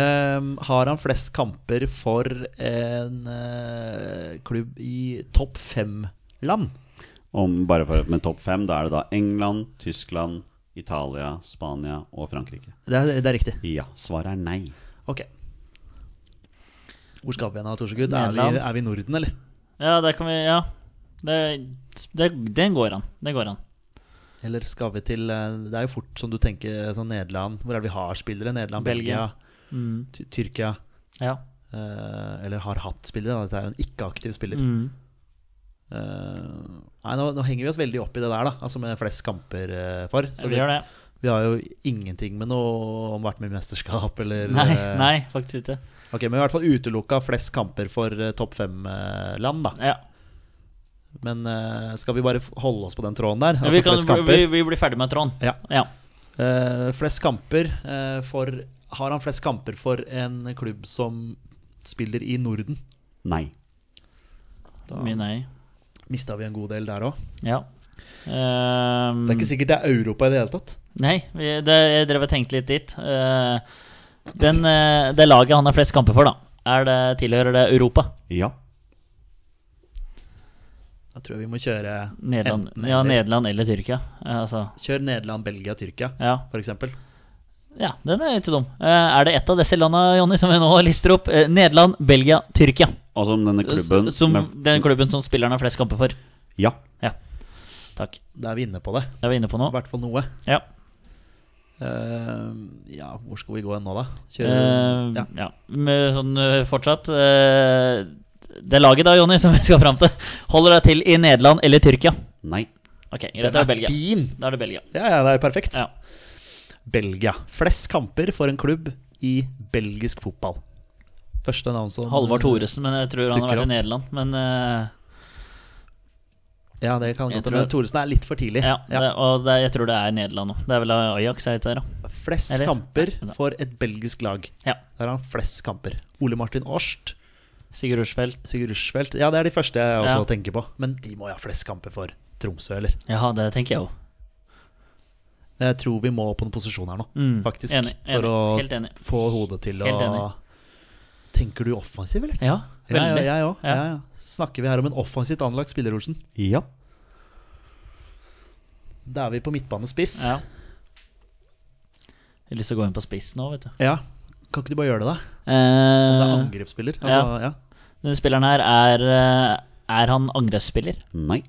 Speaker 2: Ehm, har han flest kamper for en eh, klubb i topp fem-land?
Speaker 1: Om bare for med topp fem, da er det da England, Tyskland, Italia, Spania og Frankrike.
Speaker 2: Det, er- det er riktig.
Speaker 1: Ja. Svaret er nei.
Speaker 2: Ok. Hvor skal vi hen, da, Torsegudd? Er,
Speaker 3: Nederland.
Speaker 2: vi- er vi i Norden, eller?
Speaker 3: Ja, der kan vi Ja. Det, det, den går an. Den går an.
Speaker 2: Eller skal vi til eh, Det er jo fort som du tenker sånn Nederland. Hvor er det vi har spillere? Nederland, Belgia,
Speaker 3: Belgia. Mm.
Speaker 2: Ty- Tyrkia.
Speaker 3: Ja.
Speaker 2: eh, eller har hatt spillere. da. Dette er jo en ikke-aktiv spiller.
Speaker 3: Mm.
Speaker 2: Eh, nei, nå, nå henger vi oss veldig opp i det der, da. Altså med flest kamper eh, for. Så
Speaker 3: Vi gjør det.
Speaker 2: vi har jo ingenting med noe om vært med i mesterskap eller
Speaker 3: Nei,
Speaker 2: eh,
Speaker 3: nei, faktisk ikke.
Speaker 2: Ok, Men vi har i hvert fall utelukka flest kamper for eh, topp fem-land, da.
Speaker 3: Ja.
Speaker 2: Men eh, skal vi bare f- holde oss på den tråden der?
Speaker 3: vi,
Speaker 2: Altså flest
Speaker 3: kan,
Speaker 2: kamper.
Speaker 3: vi, vi blir ferdig med tråden.
Speaker 2: Ja.
Speaker 3: Ja.
Speaker 2: Eh, flest kamper eh, for Har han flest kamper for en klubb som spiller i Norden?
Speaker 1: Nei.
Speaker 2: Da
Speaker 3: Mye nei.
Speaker 2: mista vi en god del der òg.
Speaker 3: Ja. Ehm,
Speaker 2: Det er ikke sikkert det er Europa i det hele tatt.
Speaker 3: Nei, vi, det, jeg drev og tenkte litt dit. Eh, den, eh, det laget han har flest kamper for, da, er det, tilhører det Europa?
Speaker 1: Ja.
Speaker 2: Da tror jeg vi må kjøre
Speaker 3: Nederland,
Speaker 2: enten
Speaker 3: ja,
Speaker 2: eller.
Speaker 3: Nederland eller Tyrkia. Eh, altså,
Speaker 2: Kjør Nederland, Belgia, Tyrkia,
Speaker 3: ja.
Speaker 2: for eksempel.
Speaker 3: ja, den er ikke dum. Eh, er det ett av disse landene Jonny, som vi nå lister opp? Eh, Nederland, Belgia, Tyrkia.
Speaker 1: Altså om denne klubben
Speaker 3: S- som,
Speaker 1: med-
Speaker 3: den klubben som spilleren har flest kamper for.
Speaker 1: Ja.
Speaker 3: Ja, takk.
Speaker 2: Da er vi inne på det.
Speaker 3: Det er vi inne på nå.
Speaker 2: I hvert fall noe.
Speaker 3: Ja.
Speaker 2: Eh, ja, hvor skal vi gå hen nå, da? Kjøre
Speaker 3: Eh,
Speaker 2: ja.
Speaker 3: ja. Men sånn eh, fortsatt eh, Det laget da, Jonny, som vi skal fram til, holder deg til i Nederland eller Tyrkia?
Speaker 1: Nei.
Speaker 3: Ok, greit, da er det Belgia.
Speaker 2: Fin!
Speaker 3: Da er det Belgia.
Speaker 2: Ja, ja, det er jo perfekt.
Speaker 3: Ja.
Speaker 2: Belgia. Flest kamper for en klubb i belgisk fotball. Første navn som
Speaker 3: Halvard Thoresen, men jeg tror han har
Speaker 2: Dukker
Speaker 3: vært
Speaker 2: opp.
Speaker 3: i Nederland. Men eh,
Speaker 2: Ja, det kan
Speaker 3: Jeg
Speaker 2: godt
Speaker 3: tror-
Speaker 2: hende. Thoresen er litt for tidlig.
Speaker 3: ja,
Speaker 2: Ja.
Speaker 3: Det, og det, jeg tror det er Nederland nå. Det er vel Ajax jeg heter. Da.
Speaker 2: Flest
Speaker 3: Eller-
Speaker 2: kamper
Speaker 3: Nei, da.
Speaker 2: for et belgisk lag.
Speaker 3: Ja.
Speaker 2: Der har han flest kamper. Ole Martin Årst,
Speaker 3: Sigurd Rushfeldt.
Speaker 2: Sigurd Rushfeldt Ja, det er de første jeg også
Speaker 3: Ja.
Speaker 2: tenker på. Men de må jo ha flest kamper for Tromsø, eller?
Speaker 3: Ja, det tenker jeg òg.
Speaker 2: Jeg tror vi må på en posisjon her nå,
Speaker 3: Mm,
Speaker 2: faktisk.
Speaker 3: enig, enig,
Speaker 2: for å
Speaker 3: helt enig.
Speaker 2: få hodet til
Speaker 3: Helt
Speaker 2: å
Speaker 3: enig.
Speaker 2: Tenker du offensiv, eller?
Speaker 3: Ja,
Speaker 2: Ja, ja,
Speaker 3: veldig.
Speaker 2: jeg òg. Ja.
Speaker 3: Ja.
Speaker 2: Ja, Snakker vi her om en offensivt anlagt spiller, Olsen?
Speaker 1: Ja.
Speaker 2: Da er vi på midtbanespiss.
Speaker 3: Ja. Jeg har lyst til å gå inn på spiss nå, vet du.
Speaker 2: Ja. Kan ikke du bare gjøre det, da? Det er
Speaker 3: Eh,
Speaker 2: angrepsspiller. Altså, ja.
Speaker 3: denne spilleren her, er, eh, er han angrepsspiller?
Speaker 1: Nei.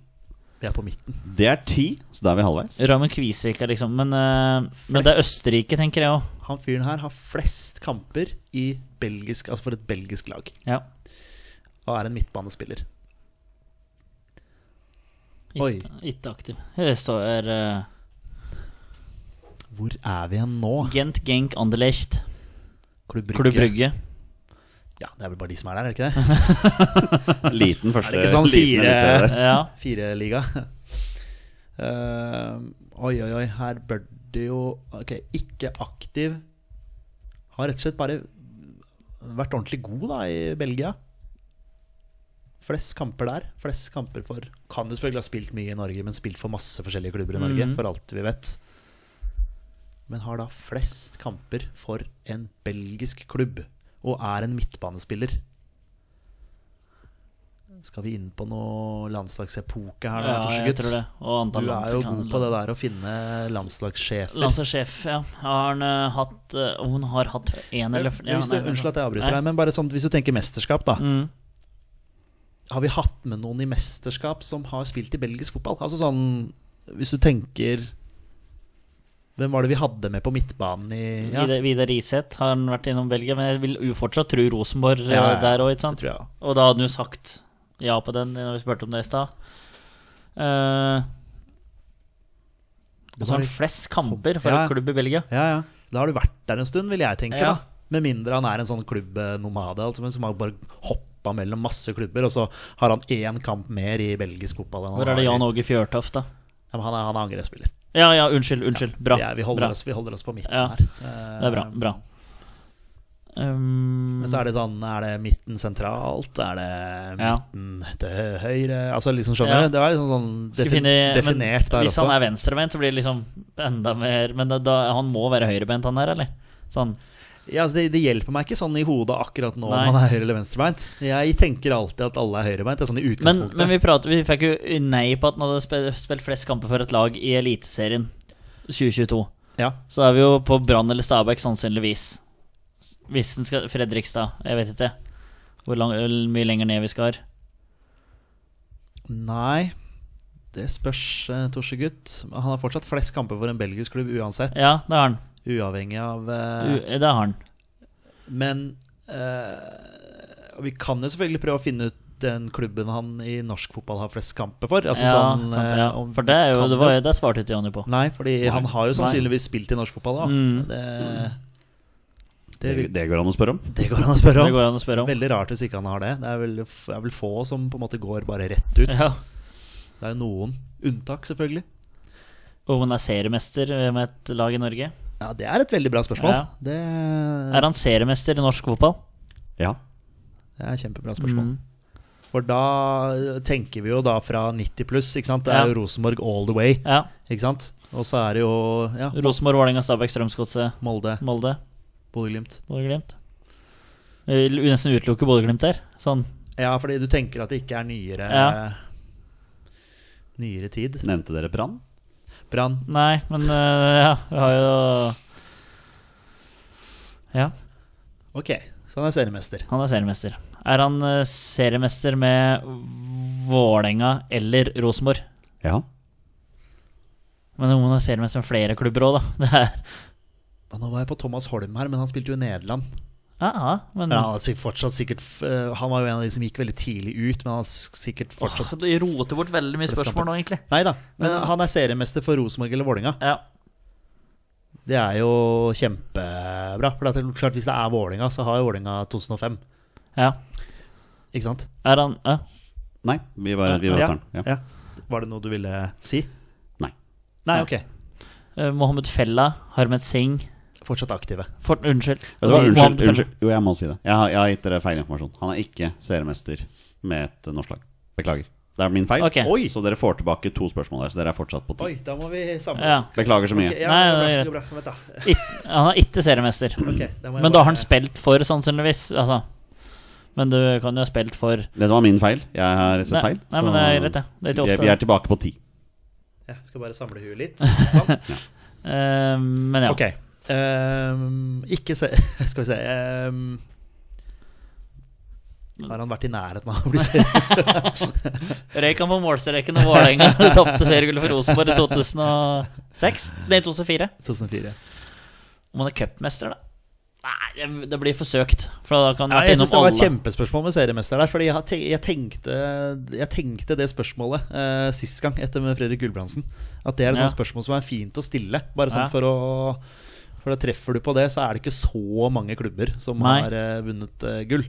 Speaker 2: Vi er på midten.
Speaker 1: Det er ti, så da er vi
Speaker 2: (laughs)
Speaker 1: halvveis.
Speaker 3: Raymond Kvisvik er liksom Men, eh, men det er Østerrike, tenker jeg òg.
Speaker 2: Han fyren her har flest kamper i belgisk, altså for et belgisk lag.
Speaker 3: Ja.
Speaker 2: Og er en midtbanespiller.
Speaker 3: Ikke-
Speaker 2: Oi.
Speaker 3: Ikke aktiv. Det står eh,
Speaker 2: Hvor er vi hen nå?
Speaker 3: Gent Genk Anderlecht.
Speaker 2: Klubb Brygge.
Speaker 3: Klubb
Speaker 2: (laughs)
Speaker 3: Brygge.
Speaker 2: Ja, det er vel bare de som er der, er det
Speaker 3: (laughs)
Speaker 2: ikke det?
Speaker 1: Liten første.
Speaker 2: Er det ikke sånn
Speaker 1: liten
Speaker 2: fire-
Speaker 1: eliteserie.
Speaker 3: Ja.
Speaker 2: Fireliga. Uh, oi, oi, oi. Her bør det jo Ok, ikke aktiv. Har rett og slett bare vært ordentlig god, da, i Belgia. Flest kamper der. Flest kamper for Kan jo selvfølgelig ha spilt mye i Norge, men spilt for masse forskjellige klubber i
Speaker 3: Mm.
Speaker 2: Norge, for alt vi vet. Men har da flest kamper for en belgisk klubb, og er en midtbanespiller. Skal vi inn på noe landslagsepoke her, da,
Speaker 3: ja, jeg
Speaker 2: Torsegutt?
Speaker 3: tror det. Og antall
Speaker 2: Du
Speaker 3: land
Speaker 2: er
Speaker 3: som
Speaker 2: jo
Speaker 3: kan-
Speaker 2: god på det der å finne landslagssjefer.
Speaker 3: Landslagssjef, ja. Har han eh, hatt eh, Hun har hatt én eller ja,
Speaker 2: hvis du,
Speaker 3: nei, nei,
Speaker 2: unnskyld at jeg avbryter
Speaker 3: nei.
Speaker 2: deg, men bare sånn, hvis du tenker mesterskap, da.
Speaker 3: Mm.
Speaker 2: Har vi hatt med noen i mesterskap som har spilt i belgisk fotball? Altså sånn, hvis du tenker Hvem var det vi hadde med på midtbanen i ja,
Speaker 3: Vidar, Vidar Riseth har han vært innom Belgia, men jeg vil jo fortsatt tro Rosenborg eh,
Speaker 2: Ja, ja, ja.
Speaker 3: der òg, ikke sant?
Speaker 2: tror jeg.
Speaker 3: Og da hadde han jo sagt ja på den når vi spurte om det i stad. Eh, og så har han flest kamper for
Speaker 2: Ja.
Speaker 3: en klubb i Belgia.
Speaker 2: Ja, ja. Da har du vært der en stund, vil jeg tenke.
Speaker 3: Ja.
Speaker 2: da Med mindre han er en sånn klubbnomade altså, men som har bare hoppa mellom masse klubber, og så har han én kamp mer i belgisk fotball. enn han
Speaker 3: Hvor er det
Speaker 2: har i-
Speaker 3: Jan Åge Fjørtoft, da?
Speaker 2: Ja, men han er, han er angrepsspiller.
Speaker 3: Ja, ja, unnskyld. Unnskyld. Bra.
Speaker 2: Vi, er, vi, holder
Speaker 3: bra.
Speaker 2: oss, vi holder oss på midten
Speaker 3: Ja,
Speaker 2: her. Eh,
Speaker 3: Det er bra. bra. Um,
Speaker 2: Men så er det sånn Er det midten sentralt? Er det
Speaker 3: Ja.
Speaker 2: midten til hø- høyre? Altså liksom
Speaker 3: Ja.
Speaker 2: Skjønner du? Det var liksom sånn
Speaker 3: Skal
Speaker 2: defin
Speaker 3: finne-
Speaker 2: definert
Speaker 3: men
Speaker 2: der
Speaker 3: Hvis
Speaker 2: også.
Speaker 3: han er venstrebeint, så blir det liksom enda mer Men da, da, han må være høyrebeint, han der, eller? Sånn.
Speaker 2: ja, altså det, det hjelper meg ikke sånn i hodet akkurat nå
Speaker 3: Nei.
Speaker 2: om han er høyre- eller venstrebeint. Jeg tenker alltid at alle er høyrebeint. Det er sånn i
Speaker 3: Men,
Speaker 2: utgangspunktet.
Speaker 3: men vi, prater, vi fikk jo nei på at han hadde spilt, spilt flest kamper for et lag i Eliteserien 2022.
Speaker 2: ja.
Speaker 3: Så er vi jo på Brann eller Stabæk, sannsynligvis. Hvis den skal Fredrikstad, jeg vet ikke. Hvor lang, eller mye lenger ned vi skal.
Speaker 2: Nei, det spørs, eh, Torsegutt. Han har fortsatt flest kamper for en belgisk klubb uansett.
Speaker 3: Ja, det har han.
Speaker 2: Uavhengig av eh,
Speaker 3: U- Det har han.
Speaker 2: Men eh, Vi kan jo selvfølgelig prøve å finne ut den klubben han i norsk fotball har flest kamper for. Altså
Speaker 3: Ja,
Speaker 2: sånn,
Speaker 3: sant,
Speaker 2: eh,
Speaker 3: ja.
Speaker 2: om-
Speaker 3: For det, er jo,
Speaker 2: kan
Speaker 3: det, var, jo- det svarte ikke Jonny på.
Speaker 2: Nei, fordi han har jo
Speaker 3: Nei.
Speaker 2: sannsynligvis spilt i norsk fotball, da.
Speaker 3: Mm.
Speaker 2: Det, det,
Speaker 1: Det, det går an å spørre om.
Speaker 2: det går an å spørre
Speaker 3: Det
Speaker 2: om.
Speaker 3: går an å spørre om.
Speaker 2: Veldig rart hvis ikke han har det. Det er vel, det er vel få som på en måte går bare rett ut.
Speaker 3: Ja.
Speaker 2: Det er jo noen unntak, selvfølgelig.
Speaker 3: Om han er seriemester med et lag i Norge?
Speaker 2: Ja, Det er et veldig bra spørsmål.
Speaker 3: Ja.
Speaker 2: Det,
Speaker 3: Er han seriemester i norsk fotball?
Speaker 1: Ja.
Speaker 2: det er et kjempebra spørsmål.
Speaker 3: Mm.
Speaker 2: For da tenker vi jo da fra 90 pluss, ikke sant. Det
Speaker 3: Ja.
Speaker 2: er jo Rosenborg all the way,
Speaker 3: Ja.
Speaker 2: ikke sant. Og så er det jo ja,
Speaker 3: Rosenborg, Vålerenga, Stabæk, Strømsgodset,
Speaker 2: Molde,
Speaker 3: Molde,
Speaker 2: Bodø-Glimt.
Speaker 3: Bodø-Glimt. Jeg vil nesten utelukke Bodø-Glimt der. Sånn.
Speaker 2: Ja, fordi du tenker at det ikke er nyere
Speaker 3: Ja.
Speaker 2: Nyere tid.
Speaker 1: Nevnte dere Brann?
Speaker 2: Brann.
Speaker 3: Nei, men eh, ja, vi har jo Ja,
Speaker 2: Ok, så han er seriemester.
Speaker 3: han er seriemester. Er han eh, seriemester med Vålerenga eller Rosenborg?
Speaker 1: Ja.
Speaker 3: Men hun er seriemester med flere klubber òg, da. (laughs) Det er,
Speaker 2: Ja, Nå var jeg på Thomas Holm her, men han spilte jo i Nederland.
Speaker 3: Ja, ja, men
Speaker 2: Men han, er sikk- fortsatt sikkert, f- eh, han var jo en av de som gikk veldig tidlig ut, men han er s- sikkert fortsatt
Speaker 3: Du roter bort veldig mye spørsmål nå, egentlig.
Speaker 2: Nei da, men
Speaker 3: Mm.
Speaker 2: han er seriemester for Rosenborg eller Vålinga.
Speaker 3: Ja.
Speaker 2: Det er jo kjempebra. For det er klart, hvis det er Vålinga, så har jo Vålinga 2005.
Speaker 3: ja.
Speaker 2: Ikke sant?
Speaker 3: Er han ja.
Speaker 1: Nei, vi var, vi var etter den. Ja.
Speaker 2: ja. Var det noe du ville si?
Speaker 1: Nei.
Speaker 2: Nei, ok.
Speaker 3: Eh, Mohammed Fella, Harmet Singh
Speaker 2: Fortsatt aktive.
Speaker 3: for, Unnskyld.
Speaker 1: Vet du hva,
Speaker 3: Mohammed
Speaker 1: unnskyld,
Speaker 3: Fella.
Speaker 1: unnskyld. Jo, jeg må si det. Jeg har, jeg har gitt dere feil informasjon. Han er ikke seriemester med et eh, norsk lag. Beklager. Det er min feil.
Speaker 3: Ok.
Speaker 1: Oi. Så dere får tilbake to spørsmål der, så dere er fortsatt på ti.
Speaker 2: Oi, da må vi samle
Speaker 3: Ja.
Speaker 2: oss.
Speaker 1: Beklager så mye.
Speaker 2: Ok, ja,
Speaker 3: Nei,
Speaker 2: det
Speaker 3: det
Speaker 2: er
Speaker 3: er
Speaker 2: bra, det er bra. Vent da.
Speaker 3: Ik- Han er ikke seriemester.
Speaker 2: Ok, da må jeg
Speaker 3: Men da har
Speaker 2: bare-
Speaker 3: han spilt for, sannsynligvis. Altså. Men du kan jo ha spilt for
Speaker 1: Dette var min feil. Jeg har sett
Speaker 3: Nei,
Speaker 1: feil.
Speaker 3: nei, men det er greit, det. Det er ikke
Speaker 1: vi,
Speaker 3: ofte.
Speaker 1: vi er tilbake på ti.
Speaker 2: Ja, skal bare samle
Speaker 3: (laughs)
Speaker 2: huet litt. Sånn.
Speaker 3: eh, Men ja.
Speaker 2: Ok. Ehm, ikke se (laughs) Skal vi se ehm, Har han vært i nærheten av å bli (laughs) seriøs?
Speaker 3: Røyk han på målstreken og Vålerenga (laughs) tapte seriegullet for Rosenborg (laughs) i 2006? Nei, 2004.
Speaker 2: 2004.
Speaker 3: Om han er cupmester, da? Nei, det, det blir forsøkt. For da kan han
Speaker 2: Ja,
Speaker 3: vært
Speaker 2: jeg synes
Speaker 3: innom
Speaker 2: det var et
Speaker 3: alle.
Speaker 2: kjempespørsmål med seriemester der. Fordi jeg, har te- jeg, tenkte, jeg tenkte det spørsmålet eh, sist gang, etter med Fredrik Gulbrandsen. At det er et
Speaker 3: Ja.
Speaker 2: sånt spørsmål som er fint å stille. Bare sånn
Speaker 3: Ja.
Speaker 2: for å For da treffer du på det, så er det ikke så mange klubber som
Speaker 3: Nei.
Speaker 2: har eh, vunnet eh, gull.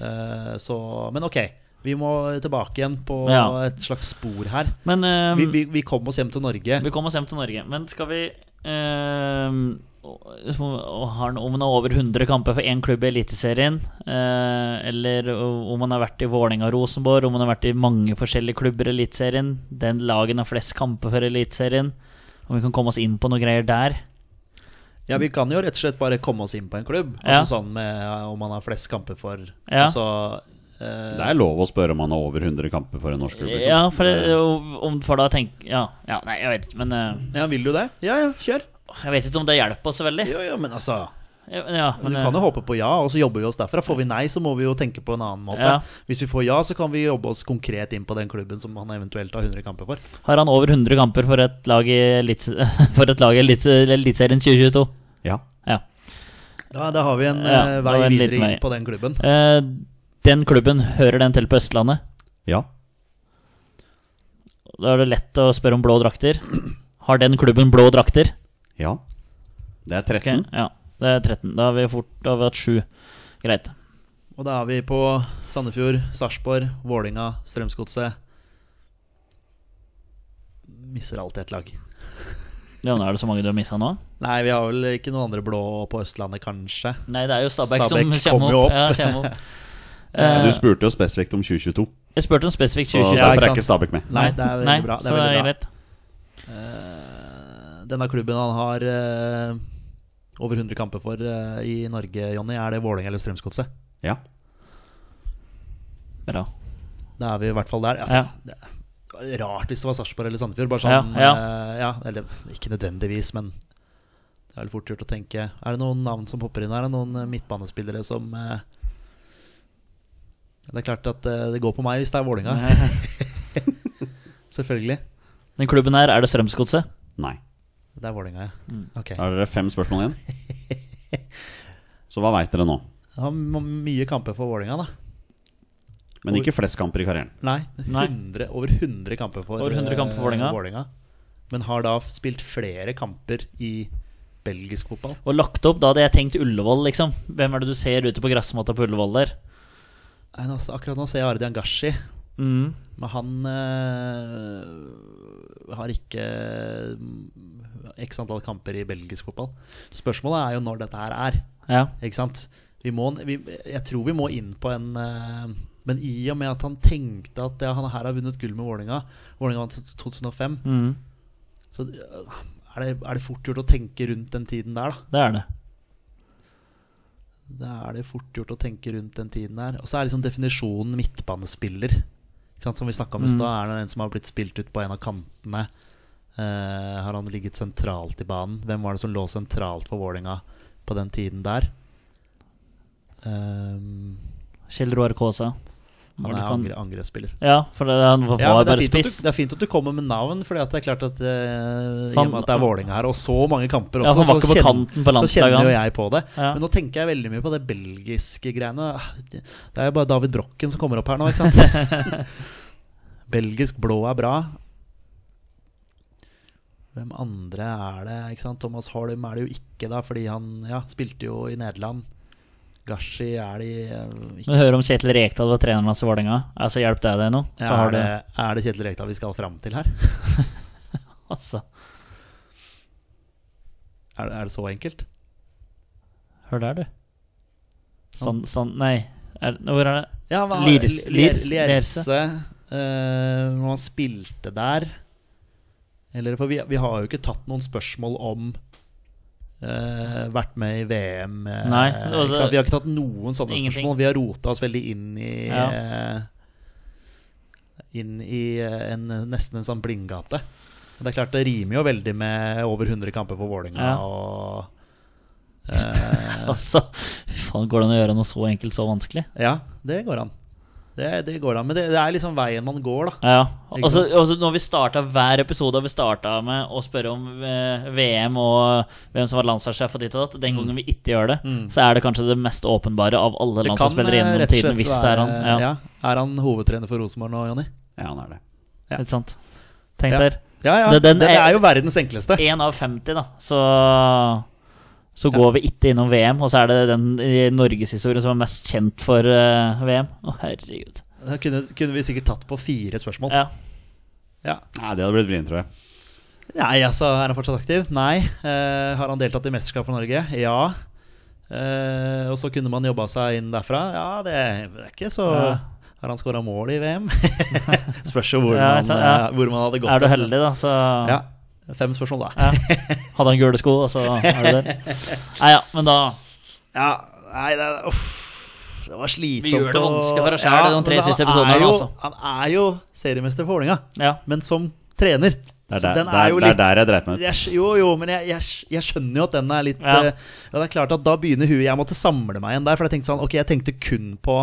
Speaker 2: Eh, så Men ok. Vi må tilbake igjen på
Speaker 3: Ja.
Speaker 2: et slags spor her.
Speaker 3: Men eh,
Speaker 2: Vi, vi, vi kom oss hjem til Norge.
Speaker 3: Vi kom oss hjem til Norge, men skal vi ehm, og- og Har han om han har over 100 kamper for én klubb i Eliteserien, eh, eller om han har vært i Vålerenga og Rosenborg, om han har vært i mange forskjellige klubber i Eliteserien, den lagen har flest kamper for Eliteserien, om vi kan komme oss inn på noe greier der
Speaker 2: Ja, Vi kan jo rett og slett bare komme oss inn på en klubb.
Speaker 3: Ja.
Speaker 2: Altså sånn med eh, Om man har flest kamper for
Speaker 3: Ja.
Speaker 2: Altså eh,
Speaker 1: Det er lov å spørre om han har over 100 kamper for en norsk klubb. liksom.
Speaker 3: Ja, for, det, om, for da tenk ja, ja, nei, jeg vet ikke, men eh,
Speaker 2: Ja, vil du det? Ja, ja, kjør.
Speaker 3: Jeg vet ikke om det hjelper oss så veldig.
Speaker 2: Jo, jo, men altså
Speaker 3: Ja, men,
Speaker 2: Du
Speaker 3: eh,
Speaker 2: kan jo håpe på ja, og så jobber vi oss derfra. Får vi nei, så må vi jo tenke på en annen måte.
Speaker 3: Ja.
Speaker 2: Hvis vi får ja, så kan vi jobbe oss konkret inn på den klubben som han eventuelt har 100 kamper for.
Speaker 3: har han over 100 kamper for et lag i Elite- (laughs) for et lag i Elite- Eliteserien 2022?
Speaker 1: Ja.
Speaker 3: Ja.
Speaker 2: Da, da har vi en
Speaker 3: Ja,
Speaker 2: eh,
Speaker 3: da
Speaker 2: vei
Speaker 3: har vi en
Speaker 2: videre
Speaker 3: liten
Speaker 2: inn
Speaker 3: vei.
Speaker 2: på den klubben.
Speaker 3: Eh, den klubben, hører den til på Østlandet?
Speaker 1: Ja.
Speaker 3: Da er det lett å spørre om blå drakter. (clears throat) Har den klubben blå drakter?
Speaker 1: Ja. Det er 13.
Speaker 3: Ok, ja. Det er 13. Da har vi fort da har vi hatt 7. Greit.
Speaker 2: Og da er vi på Sandefjord, Sarpsborg, Vålinga, Strømsgodset. Misser alltid et lag.
Speaker 3: Ja, nå er det så mange du har missa nå?
Speaker 2: Nei, vi har vel ikke noen andre blå på Østlandet, kanskje.
Speaker 3: Nei, det er jo Stabæk, som
Speaker 2: Stabæk kommer
Speaker 3: kommer
Speaker 2: jo
Speaker 3: opp.
Speaker 2: opp.
Speaker 3: Ja, kommer
Speaker 2: (laughs)
Speaker 3: opp.
Speaker 1: Du
Speaker 3: Eh,
Speaker 1: spurte jo spesifikt om 2022,
Speaker 3: jeg spurte om spesifikt
Speaker 1: så
Speaker 3: 2020.
Speaker 2: Ja,
Speaker 1: derfor
Speaker 2: ikke
Speaker 1: er ikke
Speaker 2: sant.
Speaker 1: Stabæk med.
Speaker 2: Nei, det er veldig
Speaker 3: Nei,
Speaker 2: bra. Det
Speaker 3: så
Speaker 2: er veldig bra.
Speaker 3: greit.
Speaker 2: Eh, Denne klubben han har eh, over 100 kamper for eh, i Norge, Jonny, er det Vålerenga eller Strømsgodset?
Speaker 1: Ja.
Speaker 3: Bra.
Speaker 2: Da er vi i hvert fall der. Altså, det var Rart hvis det var Sarpsborg eller Sandefjord. Bare sånn,
Speaker 3: Ja, ja.
Speaker 2: eh, ja, eller ikke nødvendigvis, men det er vel fort gjort å tenke. Er det noen navn som popper inn her? Er det noen eh, midtbanespillere som eh, Det er klart at eh, det går på meg hvis det er Vålerenga.
Speaker 3: (laughs)
Speaker 2: Selvfølgelig.
Speaker 3: Den klubben her, er det Strømsgodset?
Speaker 1: Nei.
Speaker 2: Det er Vålerenga, ja.
Speaker 3: Mm.
Speaker 2: Ok.
Speaker 1: Da er dere fem spørsmål igjen.
Speaker 2: (laughs)
Speaker 1: Så hva veit dere nå?
Speaker 2: Han har m- mye kamper for Vålerenga, da.
Speaker 1: Men ikke flest kamper i karrieren.
Speaker 2: Nei,
Speaker 3: Nei.
Speaker 2: 100, over 100 kamper for,
Speaker 3: Over 100 kamper for
Speaker 2: eh,
Speaker 3: Vålerenga.
Speaker 2: Men har da f- spilt flere kamper i belgisk fotball.
Speaker 3: Og lagt opp, da hadde jeg tenkt Ullevål, liksom. Hvem er det du ser ute på gressmatta på Ullevål der?
Speaker 2: Nei, nå, akkurat nå ser jeg Ardian Gashi,
Speaker 3: Mm.
Speaker 2: men han eh, har ikke mm, x antall kamper i belgisk fotball. Spørsmålet er jo når dette her er,
Speaker 3: Ja.
Speaker 2: ikke sant? Vi må, vi, jeg tror vi må inn på en eh, Men i og med at han tenkte at ja, han her har vunnet gull med Vålerenga, Vålerenga vant i 2005
Speaker 3: Mm.
Speaker 2: Så øh, er det, er det fort gjort å tenke rundt den tiden der, da.
Speaker 3: Det er det.
Speaker 2: Da er det fort gjort å tenke rundt den tiden der. Og så er liksom definisjonen midtbanespiller. Ikke sant? Som vi snakka om
Speaker 3: Mm.
Speaker 2: i stad, er det en som har blitt spilt ut på en av kantene? Eh, har han ligget sentralt i banen? Hvem var det som lå sentralt for Vålerenga på den tiden der? Ehm,
Speaker 3: Kjell Roar Kaasa.
Speaker 2: Han
Speaker 3: du
Speaker 2: er
Speaker 3: kan-
Speaker 2: angre, angrepsspiller.
Speaker 3: Ja, for det, han var
Speaker 2: Ja, men det,
Speaker 3: bare
Speaker 2: er fint at
Speaker 3: spiss.
Speaker 2: du, det er fint at du kommer med navn, for det er klart at eh, i
Speaker 3: Han-
Speaker 2: og med at det er Vålinga her, og så mange kamper
Speaker 3: Ja,
Speaker 2: også,
Speaker 3: han var ikke
Speaker 2: så,
Speaker 3: på
Speaker 2: kjenner,
Speaker 3: kanten på
Speaker 2: så kjenner jo
Speaker 3: landslaget. han.
Speaker 2: jeg på det.
Speaker 3: Ja.
Speaker 2: Men nå tenker jeg veldig mye på det belgiske greiene. Det er jo bare David Brokken som kommer opp her nå, ikke sant?
Speaker 3: (laughs)
Speaker 2: Belgisk blå er bra. Hvem andre er det? ikke sant? Thomas Holm er det jo ikke, da, fordi han ja, spilte jo i Nederland. Gashi er de eh, ikke
Speaker 3: Men hør om Kjetil Rekdal var treneren hans i Vålerenga. Altså, hjelp deg det nå. Så har
Speaker 2: er,
Speaker 3: du
Speaker 2: det, er det Kjetil Rekdal vi skal fram til her?
Speaker 3: Altså,
Speaker 2: Er, det- er det så enkelt?
Speaker 3: hør der, du. Sand, sand Nei, er, hvor er det?
Speaker 2: Ja, han har-
Speaker 3: Liers-
Speaker 2: Lier-
Speaker 3: Liers-
Speaker 2: Lierse. eh, Når han spilte der Eller for vi, vi har jo ikke tatt noen spørsmål om eh, vært med i VM eh,
Speaker 3: Nei, og
Speaker 2: ikke
Speaker 3: det-
Speaker 2: sant? Vi har ikke tatt noen sånne
Speaker 3: Ingenting.
Speaker 2: spørsmål. Vi har rota oss veldig inn i
Speaker 3: Ja.
Speaker 2: eh, Inn i eh, en, nesten en sånn blindgate. Men Det er klart det rimer jo veldig med over 100 kamper for Vålerenga
Speaker 3: Ja.
Speaker 2: og
Speaker 3: (laughs) Altså, fy faen, går det an å gjøre noe så enkelt så vanskelig?
Speaker 2: Ja, det går an. Det, det går an. Men det, det er liksom veien man går, da.
Speaker 3: Ja,
Speaker 2: Ikke
Speaker 3: altså,
Speaker 2: sant?
Speaker 3: altså når vi startet hver episode har Vi startet med å spørre om eh, VM og hvem som var landslagssjef og ditt og datt
Speaker 2: Mm.
Speaker 3: Den gangen vi ikke gjør det Så er det kanskje det mest åpenbare av alle
Speaker 2: Det kan
Speaker 3: landslagsspillere
Speaker 2: eh,
Speaker 3: gjennom
Speaker 2: rett og
Speaker 3: tiden
Speaker 2: slett
Speaker 3: Hvis det er han
Speaker 2: være-
Speaker 3: ja,
Speaker 2: ja. Er han hovedtrener for Rosenborg nå, Jonny?
Speaker 1: Ja, han er det.
Speaker 2: ja.
Speaker 3: Ikke sant? Tenk
Speaker 2: Ja.
Speaker 3: der
Speaker 2: Ja, ja.
Speaker 3: Det-
Speaker 2: Det,
Speaker 3: den
Speaker 2: det
Speaker 3: er-
Speaker 2: er jo verdens enkleste.
Speaker 3: 1 av 50 da Så, så går vi ikke innom VM Og så er det den i Norges historie som er mest kjent for eh, VM Å herregud
Speaker 2: Da kunne, kunne vi sikkert tatt på fire spørsmål.
Speaker 3: ja.
Speaker 2: Ja.
Speaker 1: Nei, det hadde blitt vrient, tror jeg.
Speaker 2: Nei, altså, er han fortsatt aktiv? Nei. Eh, har han deltatt i mesterskap for Norge? Ja. Eh, og så kunne man jobba seg inn derfra? Ja, det er ikke så
Speaker 3: Ja.
Speaker 2: Har han skåra mål i
Speaker 3: (laughs)
Speaker 2: VM? Spørs jo hvor,
Speaker 3: Ja,
Speaker 2: man,
Speaker 3: ikke sant, ja.
Speaker 2: eh, hvor man hadde gått.
Speaker 3: Er du
Speaker 2: hen.
Speaker 3: heldig da, så
Speaker 2: Ja. Fem spørsmål, da.
Speaker 3: Ja. Hadde han gule sko, og så er du der.
Speaker 2: (laughs)
Speaker 3: Nei ja, men da
Speaker 2: Ja, nei, det, er- uff, det var slitsomt.
Speaker 3: Vi gjør det
Speaker 2: å-
Speaker 3: vanskelig for oss selv i de
Speaker 2: men
Speaker 3: tre
Speaker 2: han
Speaker 3: siste episodene,
Speaker 2: er jo-
Speaker 3: altså.
Speaker 2: Han er jo seriemester for Vålerenga,
Speaker 3: Ja.
Speaker 2: men som trener.
Speaker 1: Det er
Speaker 2: Så
Speaker 1: der,
Speaker 2: den
Speaker 1: det er,
Speaker 2: jo
Speaker 1: det
Speaker 2: litt
Speaker 1: er der jeg dreit meg ut.
Speaker 2: jeg, skj- Jo, jo, men jeg, jeg, skj- jeg skjønner jo at den er litt
Speaker 3: Ja.
Speaker 2: eh, Ja, det er klart at da begynner huet Jeg måtte samle meg igjen der, for jeg tenkte sånn Ok, jeg tenkte kun på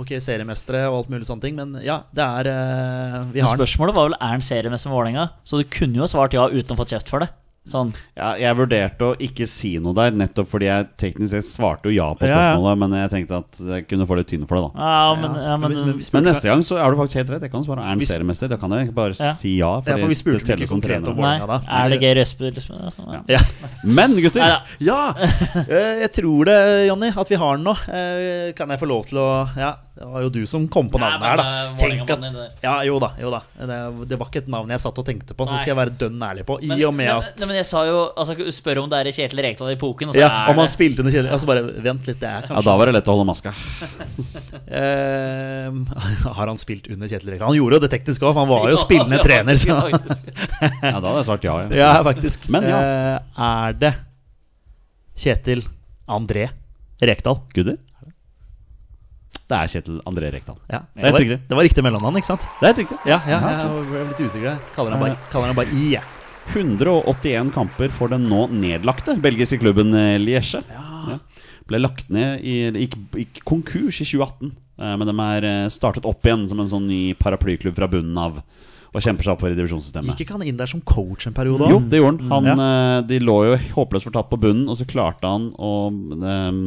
Speaker 2: Ok, seriemestere og alt mulig sånne ting, men ja, det er eh, Vi
Speaker 3: Men
Speaker 2: har den.
Speaker 3: spørsmålet var vel er han seriemester med Vålerenga, så du kunne jo ha svart ja uten å fått kjeft for det. Sånn.
Speaker 1: Ja, jeg vurderte å ikke si noe der, nettopp fordi jeg teknisk sett svarte jo ja på
Speaker 2: Ja, ja.
Speaker 1: spørsmålet, men jeg tenkte at jeg kunne få litt tynn for det, da.
Speaker 3: Ja, men, ja, men,
Speaker 2: vi- vi spurte-
Speaker 1: Men neste gang så er du faktisk helt rett. Jeg kan svare er han
Speaker 2: Vi sp-
Speaker 1: seriemester. Da kan jeg bare
Speaker 3: Ja.
Speaker 1: si ja.
Speaker 2: Ja, for vi spurte
Speaker 1: det teller
Speaker 2: ikke
Speaker 1: som
Speaker 2: konkret
Speaker 1: trener.
Speaker 2: om
Speaker 3: Nei.
Speaker 2: Vålerenga, da.
Speaker 3: Er det Geir Østby? liksom? Ja, sånn, ja.
Speaker 2: ja.
Speaker 1: Men gutter,
Speaker 3: Neida.
Speaker 2: Ja! eh, Jeg tror det, Jonny, at vi har den nå. Eh, Kan jeg få lov til å Ja, det var jo du som kom på
Speaker 3: Nei,
Speaker 2: navnet
Speaker 3: men eh,
Speaker 2: her,
Speaker 3: det
Speaker 2: da.
Speaker 3: er
Speaker 2: Tenk at
Speaker 3: Vålerenga-mannen i det
Speaker 2: Ja, jo da. jo da Det, det var ikke et navn jeg satt og tenkte på.
Speaker 3: Nei.
Speaker 2: Det skal jeg være dønn ærlig på. I
Speaker 3: Men-
Speaker 2: og med
Speaker 3: nei,
Speaker 2: at
Speaker 3: nei, men jeg sa jo altså, Spør om det er Kjetil Rekdal i poken, og så
Speaker 2: ja,
Speaker 3: er
Speaker 2: Om han
Speaker 3: det
Speaker 2: spilte under kjelen Altså bare Vent litt, det er
Speaker 1: ja,
Speaker 2: kanskje
Speaker 1: da var det lett å holde maska.
Speaker 2: Eh, (laughs) Har han spilt under Kjetil Rekdal? Han gjorde jo det teknisk òg, han var jo
Speaker 3: Ja,
Speaker 2: spillende
Speaker 3: (laughs) ja,
Speaker 2: trener. Så.
Speaker 3: ja, faktisk.
Speaker 1: Ja, da hadde jeg svart ja. ja.
Speaker 2: (laughs) Ja, faktisk.
Speaker 1: Men ja.
Speaker 2: Eh, Er det Kjetil André Rekdal?
Speaker 1: Gutter? Det er Kjetil André Rekdal.
Speaker 2: Ja,
Speaker 1: Det
Speaker 2: det,
Speaker 1: er helt
Speaker 2: var,
Speaker 1: riktig.
Speaker 2: det var riktig mellomnavn, ikke sant?
Speaker 1: Det er helt riktig.
Speaker 2: Ja, ja,
Speaker 1: Ja,
Speaker 2: jeg ble litt usikker. Jeg kaller han bare, kaller han bare I. jeg.
Speaker 1: 181 kamper for den nå nedlagte belgiske klubben eh, Liège. Ja. Ble lagt ned i gikk, gikk konkurs i 2018, eh, men de er eh, startet opp igjen som en sånn ny paraplyklubb fra bunnen av. Og kjemper seg oppover i divisjonssystemet.
Speaker 2: Gikk ikke han inn der som coach en periode
Speaker 1: Jo,
Speaker 2: òg?
Speaker 1: det gjorde han. han
Speaker 2: Mm,
Speaker 1: eh, De lå jo håpløst fortapt på bunnen, og så klarte han å ehm,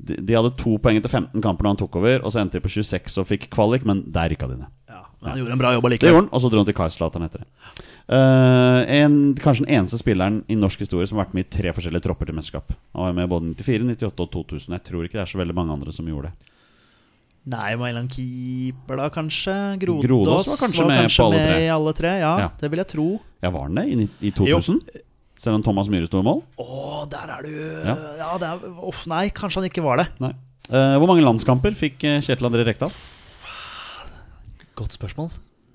Speaker 1: de, de hadde to poeng etter 15 kamper da han tok over, og så endte de på 26 og fikk kvalik, men der rykka de ned.
Speaker 2: Ja, men han gjorde en bra jobb
Speaker 1: Det
Speaker 2: allikevel.
Speaker 1: gjorde han, og så dro han til Kaiserslautern etter det. Eh, en, kanskje den eneste spilleren i norsk historie som har vært med i tre forskjellige tropper til mesterskap. Han var med både 94, 98 og 2000. Jeg tror ikke det er så veldig mange andre som gjorde det.
Speaker 2: Nei, var en eller annen keeper da, kanskje? Grodås,
Speaker 1: Grodås var kanskje med på alle tre.
Speaker 2: i alle tre. Ja,
Speaker 1: Ja.
Speaker 2: det vil jeg tro.
Speaker 1: Ja, var han det i, ni- i 2000? Selv om Thomas Myhre sto i mål?
Speaker 2: Å, der er du Ja,
Speaker 1: Ja.
Speaker 2: det er Uff, nei, kanskje han ikke var det.
Speaker 1: Nei. Eh, hvor mange landskamper fikk eh, Kjetil André Rekdal?
Speaker 2: Godt spørsmål.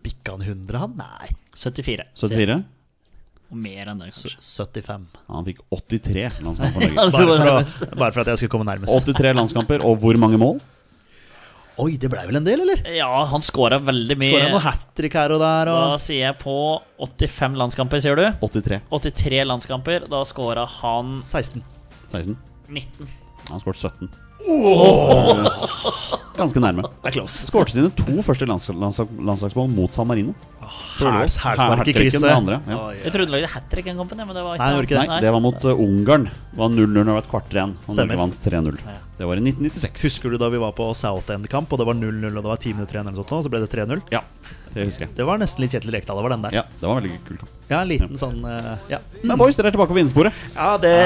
Speaker 2: Bikka han 100, han? Nei. (laughs)
Speaker 3: 74.
Speaker 1: 74?
Speaker 3: Og mer enn det, kanskje.
Speaker 2: 75.
Speaker 1: Ja, han fikk 83 landskamper for Norge.
Speaker 3: Ja,
Speaker 2: (laughs)
Speaker 3: det
Speaker 2: Bare
Speaker 3: var
Speaker 2: for,
Speaker 3: det
Speaker 2: å, bare for at jeg skulle komme nærmest.
Speaker 1: 83 landskamper, og hvor mange mål?
Speaker 2: Oi, det blei vel en del, eller?
Speaker 3: Ja, han scora veldig mye.
Speaker 2: Skåra noe hat trick her og der.
Speaker 3: Da
Speaker 2: Og...
Speaker 3: sier jeg på 85 landskamper, sier du?
Speaker 1: 83.
Speaker 3: 83 landskamper. Da scora han
Speaker 2: 16.
Speaker 1: 16.
Speaker 3: 19.
Speaker 1: Han har skåret 17. Ganske nærme.
Speaker 2: Det er close.
Speaker 1: Skårte sine to første lands landsla- landslagsmål mot San Marino.
Speaker 2: Hæls- Hælspark i
Speaker 1: Hattricken,
Speaker 2: krysset.
Speaker 1: det andre, ja.
Speaker 2: Oi,
Speaker 3: Jeg trodde du lagde hat trick den kampen, ja, men det var
Speaker 2: Nei, jeg gjorde ikke
Speaker 1: Nei, det var mot eh, Ungarn. Det var 0-0 når det var et kvarter igjen. Og
Speaker 2: Stemmer.
Speaker 1: Norge vant 3-0. Det var i 1996.
Speaker 2: Husker du da vi var på Southend-kamp, og det var 0-0, og det var 10 minutter igjen, eller noe sånt, og så ble det 3-0?
Speaker 1: Ja, det husker jeg.
Speaker 2: Det var nesten litt Kjetil Rekdal over den der.
Speaker 1: Ja, Det var en veldig kul kamp.
Speaker 2: Ja, en liten sånn eh, Ja,
Speaker 1: Men boys, dere er tilbake på vinnersporet.
Speaker 2: ja det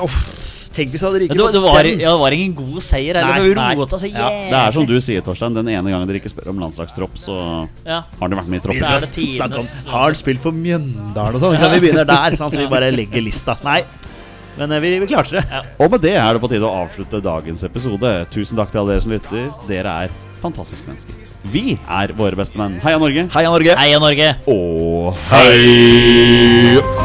Speaker 2: Uff. Tenk hvis det hadde ryket
Speaker 3: Det, var- det, var,
Speaker 2: den.
Speaker 3: ja, det var ingen god seier heller,
Speaker 2: Nei,
Speaker 3: for vi
Speaker 2: nei.
Speaker 3: rota så
Speaker 2: Ja,
Speaker 3: jævlig.
Speaker 1: Det er som du sier, Torstein. Den ene gangen dere ikke spør om landslagstropp, så
Speaker 3: Ja.
Speaker 1: har dere vært med i
Speaker 3: Det er
Speaker 1: troppen.
Speaker 3: det tidenes
Speaker 2: Snakk om
Speaker 3: landslag.
Speaker 2: hard spill for Mjøndalen og sånn. ikke sant? Vi begynner der, sant? så vi bare legger lista. Nei, men eh, vi, vi klarte det.
Speaker 1: Og med det er det på tide å avslutte dagens episode. Tusen takk til alle dere som lytter. Dere er fantastiske mennesker. Vi er våre beste menn. Heia Norge.
Speaker 2: Heia Norge!
Speaker 3: Heia Norge!
Speaker 1: Og hei